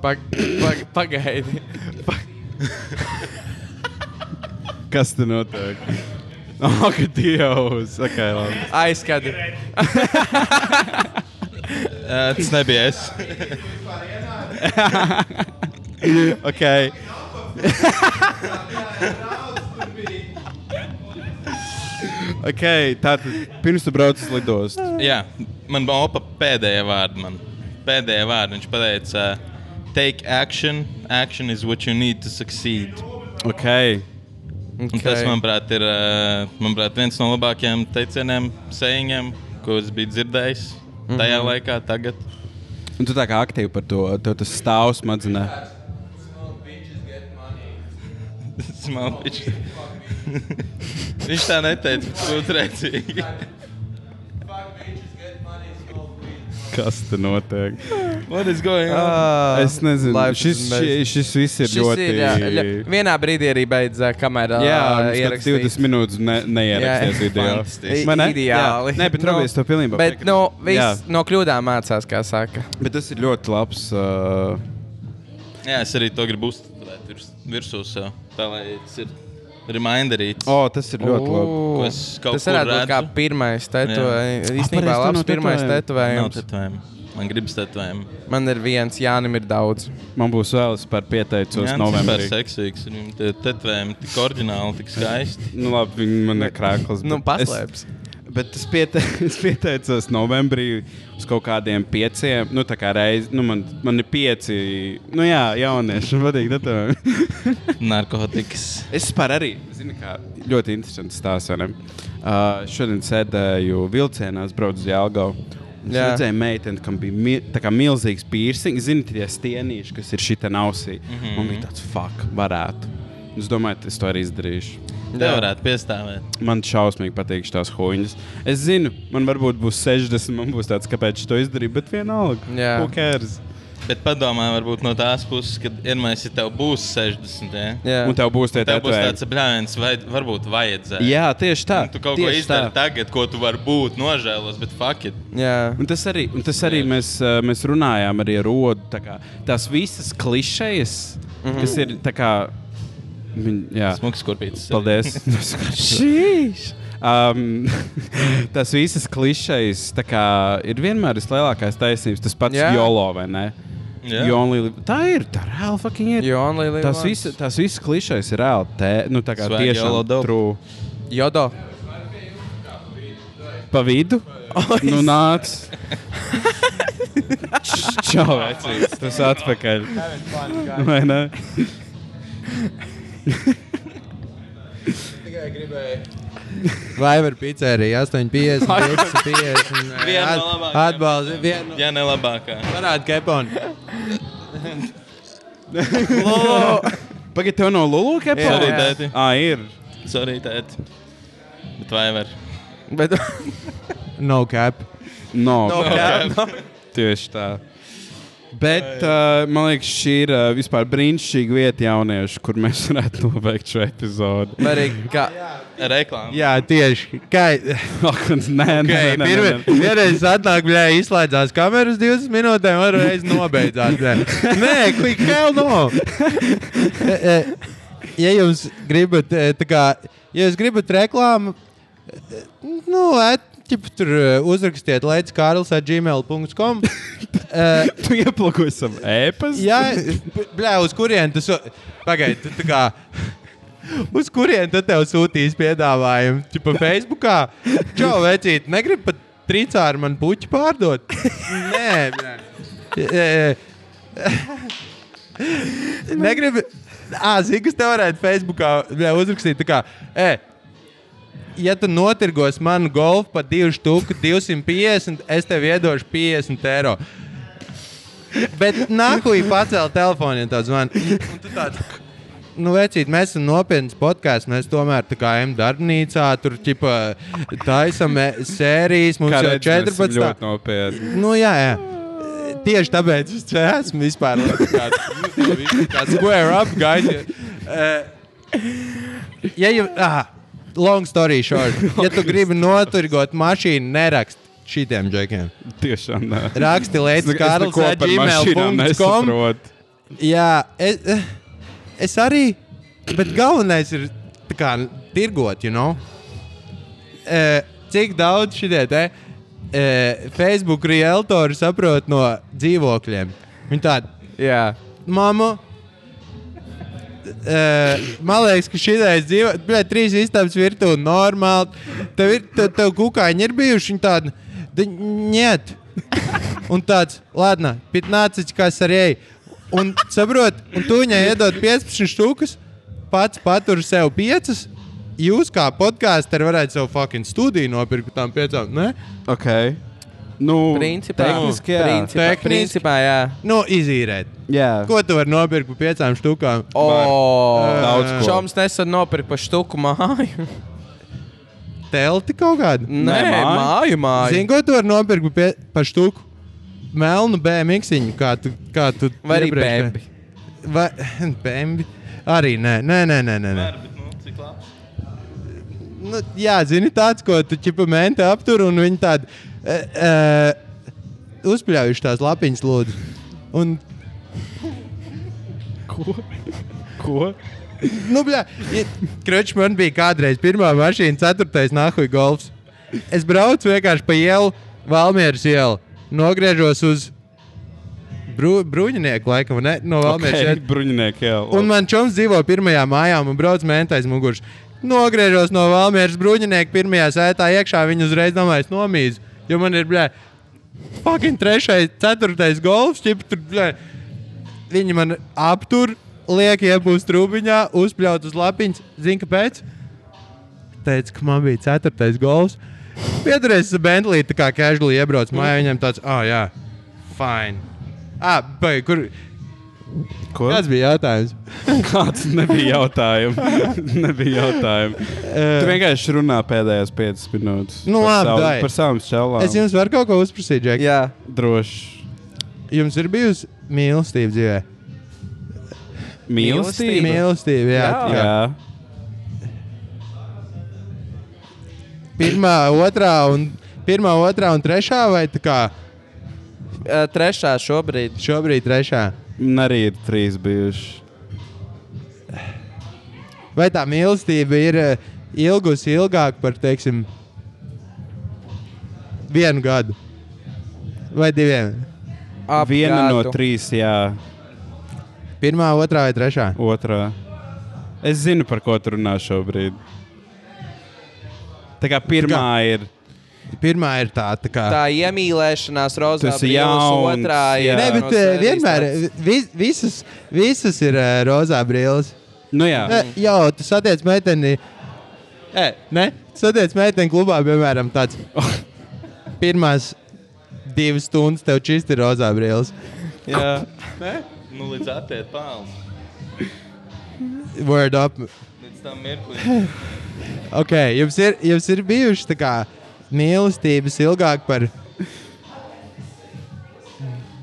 pag pag pagaidi. Kas tur notiek? Ak, Dievs! Okay, labi. Aizskati. Ā, Tas nebija es. okay. ok, tātad pirms tu brauc uz lidostu. Jā, man bija opa pēdējā vārda. Man. Pēdējā vārda viņš pateica, uh, take action. Action is what you need to succeed. Ok, Okay. Tas, manuprāt, ir uh, manuprāt, viens no labākajiem teicieniem, sējumiem, ko es biju dzirdējis Mhm. tajā mm -hmm. laikā, tagad. un tu tā kā aktīvi par to, tev tas stāv smadzenē. Small bitch. Viņš tā neteica, bet sūdzēcīgi. Kas te notiek? What is going on? Ah. Uh, Es nezinu, šis, šis, šis viss ir Šis ļoti... Ah, ir, jā, ļa- vienā brīdī arī beidzās, kamēr ā, Jā, mums kaut kāds ierakstīts. 20 minūtes ne, neierakstīts Jā. video. Fantastiski. Vai ne? Ideāli. Jā. Nē, Nu, bet Robijs, tev pilnībā Bet piekrītu. nu, viss Jā. no kļūdām mācās, kā saka. Bet tas ir ļoti labs. Uh, Jā, es arī to gribu uzturēt virs, virsū sev. Tā lai tas ir reminderīts. o, tas ir ļoti labi. Ooh. Es kaut Tas kur varētu būt kā redzu. pirmais tetovējums. Jā. Īstenībā Apareiz, tu labs no pirmais Nav tetovējums. tetovējumu. Man gribas tetovējumu. Man ir viens, Jānim ir daudz. Man būs vēl es par pieteicos Jā, tas ir super novembrī. seksīgs. un Viņam tie tetovējumi tik oriģināli, tik skaisti. Nu, labi, viņi man ir krāklis. Nu, bet es- paslēps. Bet es, piete es pieteicos novembrī uz kaut kādiem pieciem. Nu, tā kā reizes, nu, man, man ir pieci. Nu, jā, jaunieši. Man patīk, tā Narkotikas. Es vispār arī, zinu, kā ļoti interesants stāsts. vai ne? Uh, šodien sēdēju vilcienā, es braucu uz Jālgavu. Es Jā. redzēju, meiteni, kam bija mi tā kā milzīgs piercings, zinu, tie stienīši, kas ir šī tā ausī. Mm Mhm. -hmm. Man bija tāds, fuck, varētu. Es domāju, ka es to arī izdarīšu. Te varētu piestāvēt. Man šausmīgi patīk šīs huņas. Es zinu, man varbūt būs 60, man būs tāds, kāpēc es to izdarīju, bet vienalga. Jā. Who cares? Bet padomā, varbūt no tās puses, kad vienmēr, ja tev būs 60, jā, Jā. Un tev būs tie tev būs tādi tāds brālēns, vai varbūt vajadzēja. Jā, tieši tā. Un Tu kaut ko tieši tā. izdari tagad, ko tu vari būt nožēlos, bet fuck it. Jā. Un tas arī, un tas arī mēs, eh, mēs runājām ar Rodu. tā kā Tās visas klišejas, mm Mhm. -hmm. kas ir. tā Kā, viņ, jā, Smuks skurpīts. paldies. Šīs! Um, tas visas klišejas tā kā, ir vienmēr vislielākais taisnības. Tas pats Jā. jolo vai ne? Jā. You only live- Tā ir, tā reāli fucking ir. You only live Tas once. viss, tas viss klišejas ir reāli. Tē, nu, tā kā Swag YOLO tiešām dope. true. Jodo. Pa vidu? Nu, nāc! Čau, vecīt, tas atpakaļ. Vai ne? Vai var pizzerija 8,50, 12,50. Viena at- no labākajām. Atbalsta, viena no Jā, ne labākā. parāda kepona. Pagaidiet, tev no Lulu kepa? Sorry, tēti. Ā, ir. Sorry, tēt. Bet vai var? Bet, No cap. No, nu. tieši tā. Bet uh, man liekas, šī ir uh, vispār brīnišķīga vieta jauniešu, kur mēs varētu nobeigt šo epizodi. arī, kā, Reklāma. Jā, tieši. Kā, Ak, nē, nē, okay, nē, pirmi, nē, nē. vienreiz atnāk, bļā, izslēdzās kameras 20 minūtēm, varreiz nobeidzās. Nē, nē quick, hell no! E, e, Ja jums gribat, e, tā kā, ja jūs gribat reklāmu, e, nu, et, ķip, tur e, uzrakstiet leidskārls.gmail.com. Uh, Tu ieplakoji savu ēpastu? Jā, b- blē, uz kurien tas pagaidi? tu tā kā- Uz kurien tad tev sūtīs piedāvājumu? Tipā Facebookā? Čau, vecīt, negrib pat trīcā ar mani puķi pārdot? Nē, blē. E, e. Negribu. Ā, zini, kas te varētu Facebookā blē, uzrakstīt? Tā kā, e, ja tu notirgos manu golfu par 2,250, es tev iedošu 50 eiro. Bet nākuji pacēla telefonu, ja tāds man. Un tu tāds, Nu, vecīt, mēs esam nopietns podkāsts. Mēs tomēr tā kā ejam darbnīcā, tur ķipa, taisam e, sērijas. Mums Kā jau redz, mēs esam 14. tā- ļoti nopietni. Nu, jā, jā. Tieši tāpēc es te esmu vispār tāds - square up, guys. Eh, Ja jums, ah, long story short, ja tu gribi noturgot mašīnu, nerakst šitiem džekiem. Tiešām nē. Raksti Es Leicis neko par Kārlis at mašīnām gmail.com. nesaprotu. Jā, es, eh, es arī, bet galvenais ir tā kā tirgot, you know? eh, cik daudz šie te eh, Facebook realtori saprot no dzīvokļiem? Viņi tādi, Jā. mamma, eh, man liekas, ka šī ideja dzīvo, bet trīs istabas virtuvē normāli. Tev ir, tev, tev kukaiņi ir bijuši, viņi tādi, "Da niet. Un tāds, ладно, 15 kasarēji. Un saprot, un tu viņai iedod 15 štukas, pats patur sev 5. Jūs kā podkāsteri varētu sev fucking studiju nopirkt par tām piecām, ne? Ok. Nu, Principā, tehniski, jā. principā, Tehniski. principā jā. Nu, izīrēt. jā. Ko tu vari nopirkt par piecām štukām? O, Daudz ko. Čoms nesen nopirka pa štuku māju. Telti kaut kādu? Nē, māju, māju. Zini, ko tu vari nopirkt pie, par štuku? Melnu bēbiņu, kā tu. Kā tu Vai arī iepriekš- bēbi. Vai bēbi? Arī nē, nē, nē, nē. nē, nē. Bet, nu, cik labi? Nu, jā, zini, tāds, ko tu ķipamēnti aptur, un viņi tādi uh, uh, uzpļaujuši tās lapiņas, lūdzu. Un, Ko? nu, bļā, ja, kruč, man bija kādreiz pirmā mašīna, ceturtais nahuj golfs. Es braucu vienkārši pa ielu, Valmieras ielu, nogriežos uz Bru, Bruņinieku, laikam, ne? no Valmieras okay. Okay. Bruņinieki, jā. Un man čoms dzīvo pirmajā mājā, un brauc mentā aiz muguras. Nogriežos no Valmieras bruņinieka pirmajā sētā iekšā, viņu uzreiz domāju, es nomīzu. Jo man ir, blē, fucking trešais, ceturtais golfs, čip, tur, blē. Viņi man aptur, liek iepūst trūbiņā, uzpļaut uz lapiņas. Zini, kāpēc? Teica, ka man bija ceturtais golfs. Pieturēs Bentley, tā kā casually iebrauc mājā, viņam tāds, ah, oh, jā, fine. Ah, bai, kur? Ko? Tas bija jautājums. Kāds nebija jautājums. nebija jautājums. Tu vienkārši runā pēdējās 5 minūtes. Nu, par labi, savu- dai. par savām šķelām. Es jums varu kaut ko uzprasīt, Džek. Jā. droši Jums ir bijusi mīlestība dzīvē. Mīlestība? mīlestību. Mīlestība, jā. jā. jā. Jā. Pirmā, otrā un, pirmā, otrā un trešā, vai tā kā Ā, Trešā šobrīd. šobrīd trešā? Man arī ir trīs bijuši. Vai tā mīlestība ir eh, ilgusi ilgāk par, teiksim, vienu gadu vai diviem? Ap Viena gadu. no trīs, jā, Pirmā, otrā vai trešā? otrā. Es zinu, par ko tu runā šobrīd. Tā kā pirmā ir. Pirmā ir tā, tā kā. Tā iemīlēšanās rozā Tu esi brīlis, jauns, otrā jā. ir. Nē, bet no eh, sērijas vienmēr tāds- vi- visas, visas ir eh, rozā brīlis. Nu, jā, E, Jā, tas attiecas meiteni. E, ne? Tas attiecas meiteni klubā, piemēram, tāds. Pirmās divas stundas tev čisti rozā brīlis. jā. Nu, līdz atiet pāri. Word up. Līdz tam mirklim. Ok, jums ir, jums ir bijuši tā kā mīlestības ilgāk par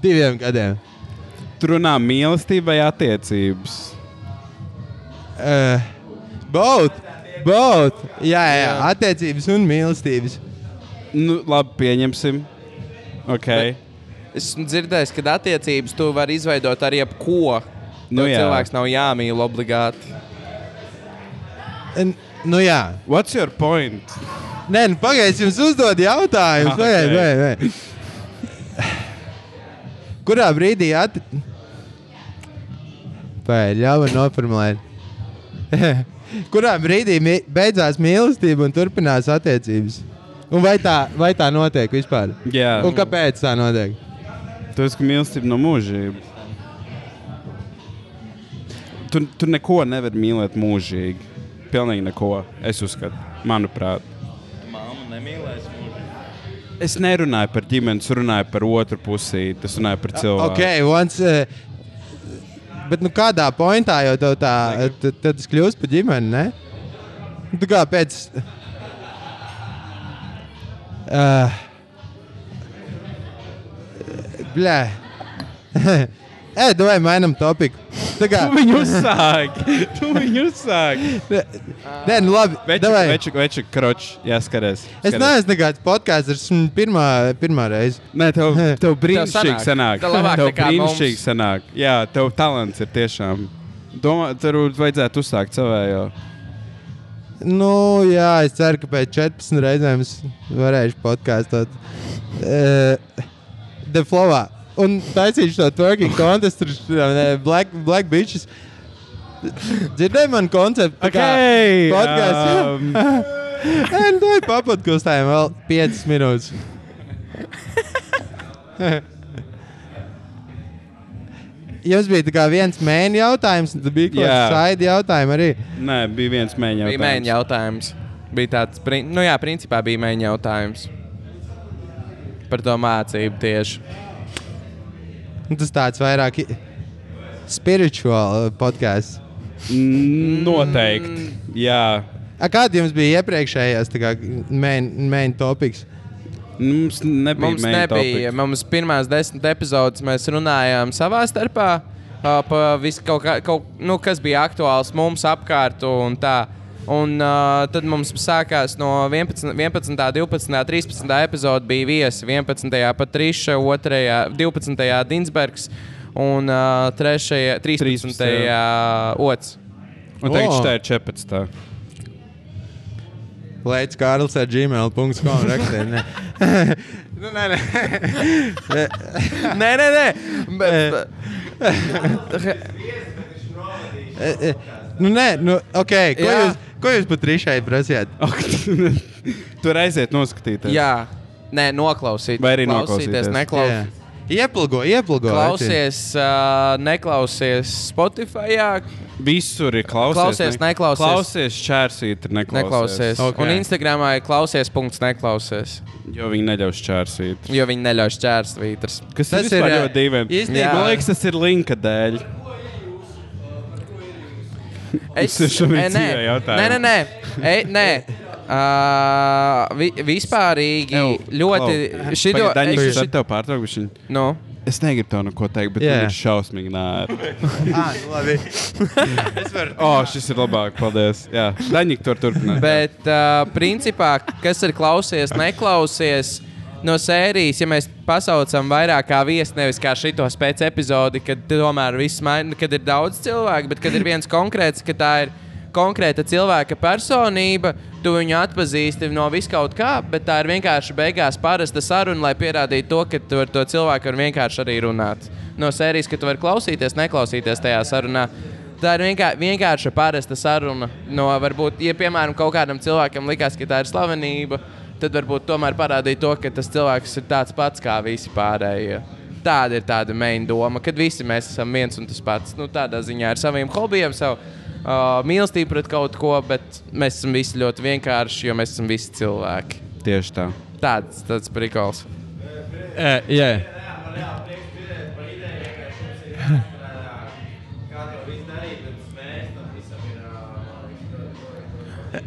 diviem gadiem. Tur runā mīlestība vai attiecības. Uh, both! Both! Jā, jā, jā, attiecības un mīlestības. Nu, labi, pieņemsim. Okay. Esmu dzirdējis, ka attiecības tu vari izveidot ar jebko. Nu Nu, jā. cilvēks nav jāmīl obligāti. N nu jā, What's your point? nē, nu, pagaidiet, jums uzdod jautājumu. Ah, Okay. ok. Vai, vai, vai. Kurā brīdī ati... Vai, ļauj man noformulēt. Kurā brīdī mi beidzās mīlestība un turpinās attiecības? Un vai tā, vai tā notiek vispār? Jā, Un kāpēc tā notiek? tu esi mīlestība no mūžības. Tu, tu neko nevari mīlēt mūžīgi. Pilnīgi neko. Es uzskatu, manuprāt. Māmu nemīlēs mūžīgi. Es nerunāju par ģimeni, es runāju par otru pusi. Es runāju par cilvēku. Ok, once. Uh, bet nu kādā pointā jau tev tā, tad, tad tas kļūst par ģimeni, ne? Nu, Tu kā pēc. Uh, Blē. Ej, domāju, mainam topiku. Tā kā. Tu viņu sāki. Tu viņu sāki. Nē, nu labi. Veču, davai. veču, veču, kroč, jāskarēs. Es neesmu nekāds podkāsts, es esmu pirmā, pirmā reize. Nē, tev, tev brīnišķīgi sanāk. sanāk. Tev labāk nekā brīnišķīgi mums. sanāk. Jā, tev talants ir tiešām. Domā, tur vajadzētu uzsākt savējo. Nu, jā, es ceru, ka pēc 14 reizēm es varēšu podkāstot uh, Deflovā. Un taisīšu to twerking kontestu, ne, black, black bitches. Dzirdēju man konceptu. tā kā Okay, podcasts, um, jā. Un tā ir papildinājuma nu, vēl 5 minūtes. Jums bija tā kā viens mēnesis jautājums, un tad bija kaut Jā. kāds saidi jautājumi arī. Nē, bija viens mēģinājums. Bija mēģinājums jautājums. Bija tāds, prin- nu jā, principā bija mēģinājums jautājums. Par to mācību tieši. Nu, Tas tāds vairāk i- spiritual eh, podkāsts. Noteikti. Mm. Jā. A, Kāda jums bija iepriekšējās tā kā, main, main topics? Mums nebija. Mums main nebija. topics. Mums pirmās desmit epizodes mēs runājām savā starpā. ā, Pa visu kaut kā, kaut, nu, kas bija aktuāls mums apkārt un tā. Un uh, tad mums sākās no 11, 11, 12, 13 epizodes bija viesi. 11. Patriša, 2. 12. Dinsbergs un uh, 3. 13. 13.. Ots. Un teikt, O. tā ir 14. Leits Kārls ar gmail.com rakstīt. ne. nu, nē, nē. Nē, nē, nē. Bet, Nu, nē, nu, ok. Ko Jā. jūs, ko jūs pat trīšai prasījāt? Tur aiziet noskatīties. jā, nē, noklausīties. Vai arī noklausīties. klausīties, neklausīties. Jā. Ieplūgo, ieplūgo. vecīt. Klausies, uh, neklausies Spotify, Visur ir klausies. Klausies, neklausies. Klausies, čērsīt, ir neklausies. neklausies. Ok. Okay. Un Instagramā ir klausies, punkts, neklausies. Jo viņi neļaus čērsīt. Jo viņi neļauj šķērst vītras. Kas Tas tas ir ir, ļoti dīvaini. īstenībā- man liekas, tas ir linka dēļ. Es Tas ir šobrīd e, nē. dzīvē jautājums. nē, nē, nē. E, nē. Uh, vi, vispārīgi Ew, ļoti šito, Daņģis, es, es ar tevi pārtraukšu. nu, Es negribu tev neko teikt, bet Jā. yeah. viņš ir šausmīgi nē. Ah, nu, labi. O, oh, šis ir labāk, paldies. Jā, Daņģis tur turpina. bet, uh, principā, kas ir klausies, neklausies no sērijas, ja mēs pasaucam vairāk kā viesu, nevis kā šitos pēc epizodi, kad tomēr viss maina, kad ir daudz cilvēku, bet kad ir viens konkrēts, ka tā ir konkrēta cilvēka personība, tu viņu atpazīsti no viskaut kā, bet tā ir vienkārši beigās parasta saruna, lai pierādītu to, ka tu ar to cilvēku var vienkārši arī runāt. No sērijas, ka tu vari klausīties, neklausīties tajā sarunā. Tā ir vienkār, vienkārši parasta saruna. No, varbūt, ja piemēram kaut kādam cilvēkam likās, ka tā ir slavenība, tad varbūt tomēr parādīja to, ka tas cilvēks ir tāds pats kā visi pārējie. Tāda ir tāda main doma, kad visi mēs esam viens un tas pats. Nu, tādā ziņā ar saviem hobijiem, savu uh, mīlestību pret kaut ko, bet mēs esam visi ļoti vienkārši, jo mēs esam visi cilvēki. Tieši tā. Tāds tas ir prikals. Jā, jā.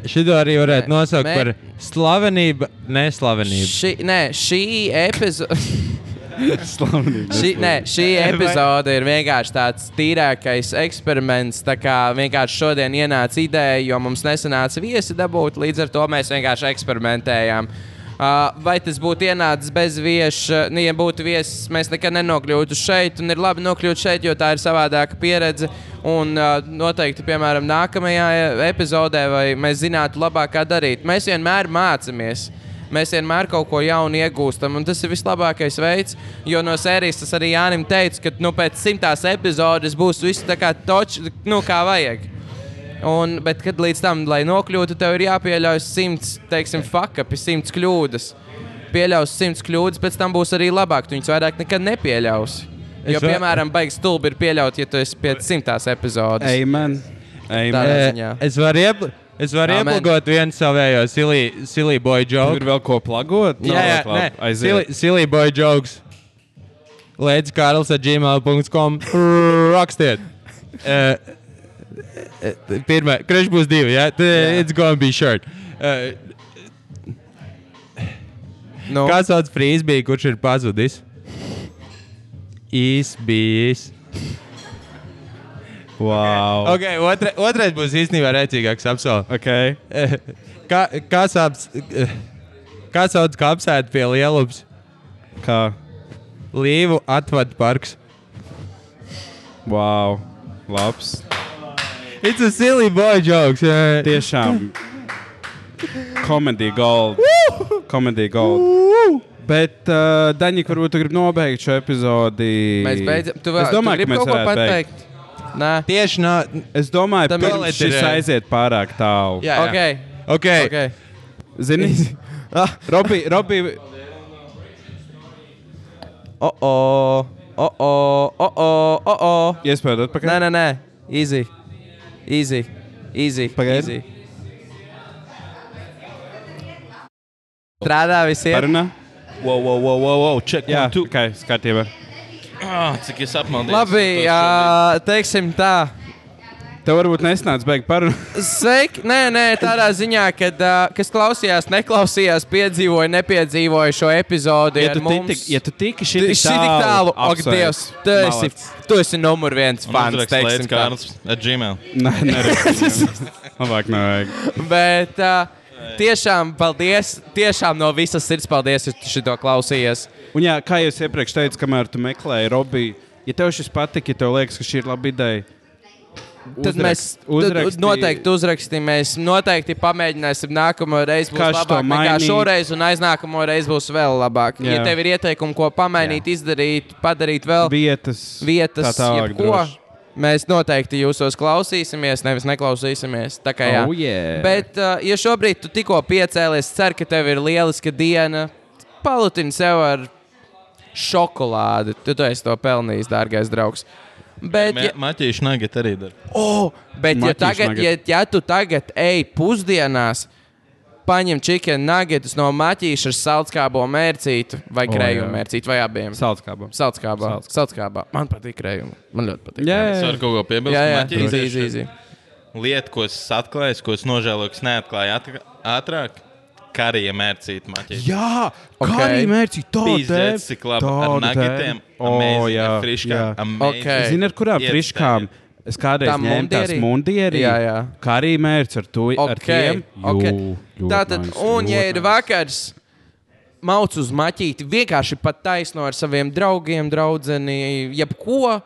Šito arī varētu Mē- nosaukt mē- par slavenību, neslavenību. Šī, nē, šī epizode. Slavenīgi. Šī, nē, šī epizode ir vienkārši tāds tīrākais eksperiments. Tā kā vienkārši šodien ienāca ideja, jo mums nesanāca viesi dabūt, līdz ar to mēs vienkārši eksperimentējām. Uh, vai tas būtu ienācis bez vieša, nu, ja būtu viesis, mēs nekad nenokļūtu šeit. Un ir labi nokļūt šeit, jo tā ir savādāka pieredze. Un uh, noteikti, piemēram, nākamajā e- epizodē, vai mēs zinātu labāk, kā darīt. Mēs vienmēr mācāmies mēs vienmēr kaut ko jaunu iegūstam. Un tas ir vislabākais veids, jo no sērijas tas arī Jānis teica, ka nu, pēc simtās epizodes būs viss tā kā toč, nu, kā vajag. Un, bet, kad līdz tam, lai nokļūtu, tev ir jāpieļauj simts, teiksim, fakapi, simts kļūdas. Pieļaus simts kļūdas, pēc tam būs arī labāk. Tu viņus vairāk nekad nepieļausi. Es Jo, vēl- piemēram, baigs stulbi ir pieļaut, ja tu esi pēc simtās epizodes. Amen. Amen. Tā. Eh, ziņā. Es varu iepl- es varu Amen. ieplūgot vienu savējo silly silly boy Tev joke. ir vēl ko plagot? Jā, jā, Nav, labi, nē, silly, aiziet. silly boy jokes. Lēdz Kārls ar gmail.com rakstiet. Uh, pirmā, krešs būs divi, jā? Yeah? It's gonna be short. Uh, Nu, kā sauc frīzbī, kurš ir pazudis? Īs bijis. Wow. Ok, otra, otrais būs īstenībā rēcīgāks apsolu. Okay. Eh, Kā, kā sauc, eh, kā sauc kapsētu pie lielups? Kā? Līvu atvadu parks. Wow. Labs. It's a silly boy jokes. eh. Tiešām Comedy gold. Comedy gold. Bet, uh, Daņik, varbūt tu gribi nobeigt šo epizodi. Mēs beidzam. Tu vēl es tu domāju, ka gribi mēs kaut ko varētu beigt. pateikt. Nē, Tieši no. Es domāju, Tam ir- ka šis aiziet pārāk tālu. Jā, jā. ok. Ok. okay. Zini, Ah. Robi, Robi, O, o, o, o, o, o, o, o. iespējot atpakaļ. Nē, nē, nē, easy. Easy. Easy. Pagaidi. Easy. Strādā visiem. Parunā? Wow, wow, wow, wow, wow. Check, Jā, one, two. tikai skatībā. Ah, cik es apmaldījos. Labi, Tas ā, teiksim tā. Tev varbūt nesnāca beigt parunā. Sveiki, nē, nē, tādā ziņā, ka uh, kas klausījās, neklausījās, piedzīvoja, nepiedzīvoja šo epizodi. Ja ar tu mums. tiki, ja tu tiki šī Šī tik tālu, ak, apsveic. Dievs, tu esi, Malac. tu esi numur viens bija- fans, Un uzraksts teiksim Leids tā. Kārls at Gmail. Nē, nē, nē. Labāk nevajag. Bet uh, tiešām paldies, tiešām no visas sirds paldies, ka tu šito klausījies. Un jā, kā jau es iepriekš teicu, kamēr tu meklēji Robiju, ja tev šis patika, ja tev liekas, ka šī ir laba ideja, Tad mēs uzraksti... noteikti uzrakstīsim, mēs noteikti pamēģināsim. Nākamā reize būs Kas to labāka nekā mainīt? šoreiz, un aiznākamā reize būs vēl labāka. Jā. Ja tev ir ieteikumi, ko pamainīt, Jā. izdarīt, padarīt vēl vietas, vietas, tā tālāk, jebko, droši. mēs noteikti jūsos klausīsimies, nevis neklausīsimies. Tā kā, jā. Oh, yeah. Bet, uh, ja šobrīd tu tikko piecēlies, ceru, ka tev ir lieliska diena. Palutini sev ar šokolādi. Tu, tu esi to pelnījis, dārgais draugs. Bet, ja, Ma- Matīši Nagat arī dara. oh, bet ja, Maķīšu tagad, ja, nugget. ja tu tagad ej pusdienās, paņem čikenu nagetus no maķīša ar salskābo mērcītu vai Oh, jā. krējumu mērcītu vai abiem. Saldskābā. Salskābā. Salds- Salskābā. Man patīk krējumi. Man ļoti patīk. Jā, Es jā, varu kaut ko piebilst. Jā, jā, Maķīši easy, ir easy, easy. Lieta, ko es atklāju, ko es nožēloju, ka es neatklāju atk- ātrāk, karija mērcīt maķīši. jā. Ok. kā arī mērķi, to Pīzdēts, cik labi ar nagetiem. O, amazing, jā, ar jā. friškām, amazing. Ok. Zini, ar kurām Iet friškām es kādreiz Tā ņēmu tās mundieri? mundieri? Jā, jā. Kā arī mērķis ar to ar Okay, tiem? okay. Jū, ļoti Tātad, nice, un, ja ļoti ir nice. vakars, mauc uz maķīti, vienkārši pat taisno ar saviem draugiem, draugiem, jebko.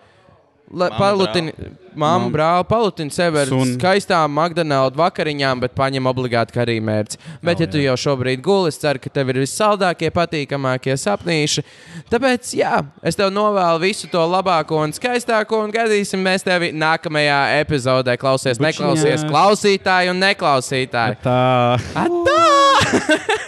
la- Mammu, Palutini, mamma, brāl, palutini sevi ar Suni. skaistām McDonald's vakariņām, bet paņem obligāti karī mērķi. Oh, Bet, ja tu jau šobrīd guli, es ceru, ka tev ir vissaldākie, patīkamākie sapnīši. Tāpēc, jā, es tev novēlu visu to labāko un skaistāko, un gaidīsim mēs tevi nākamajā epizodē. Klausies, neklausies, Bučiņās. klausītāji un neklausītāji. Tā. Atā!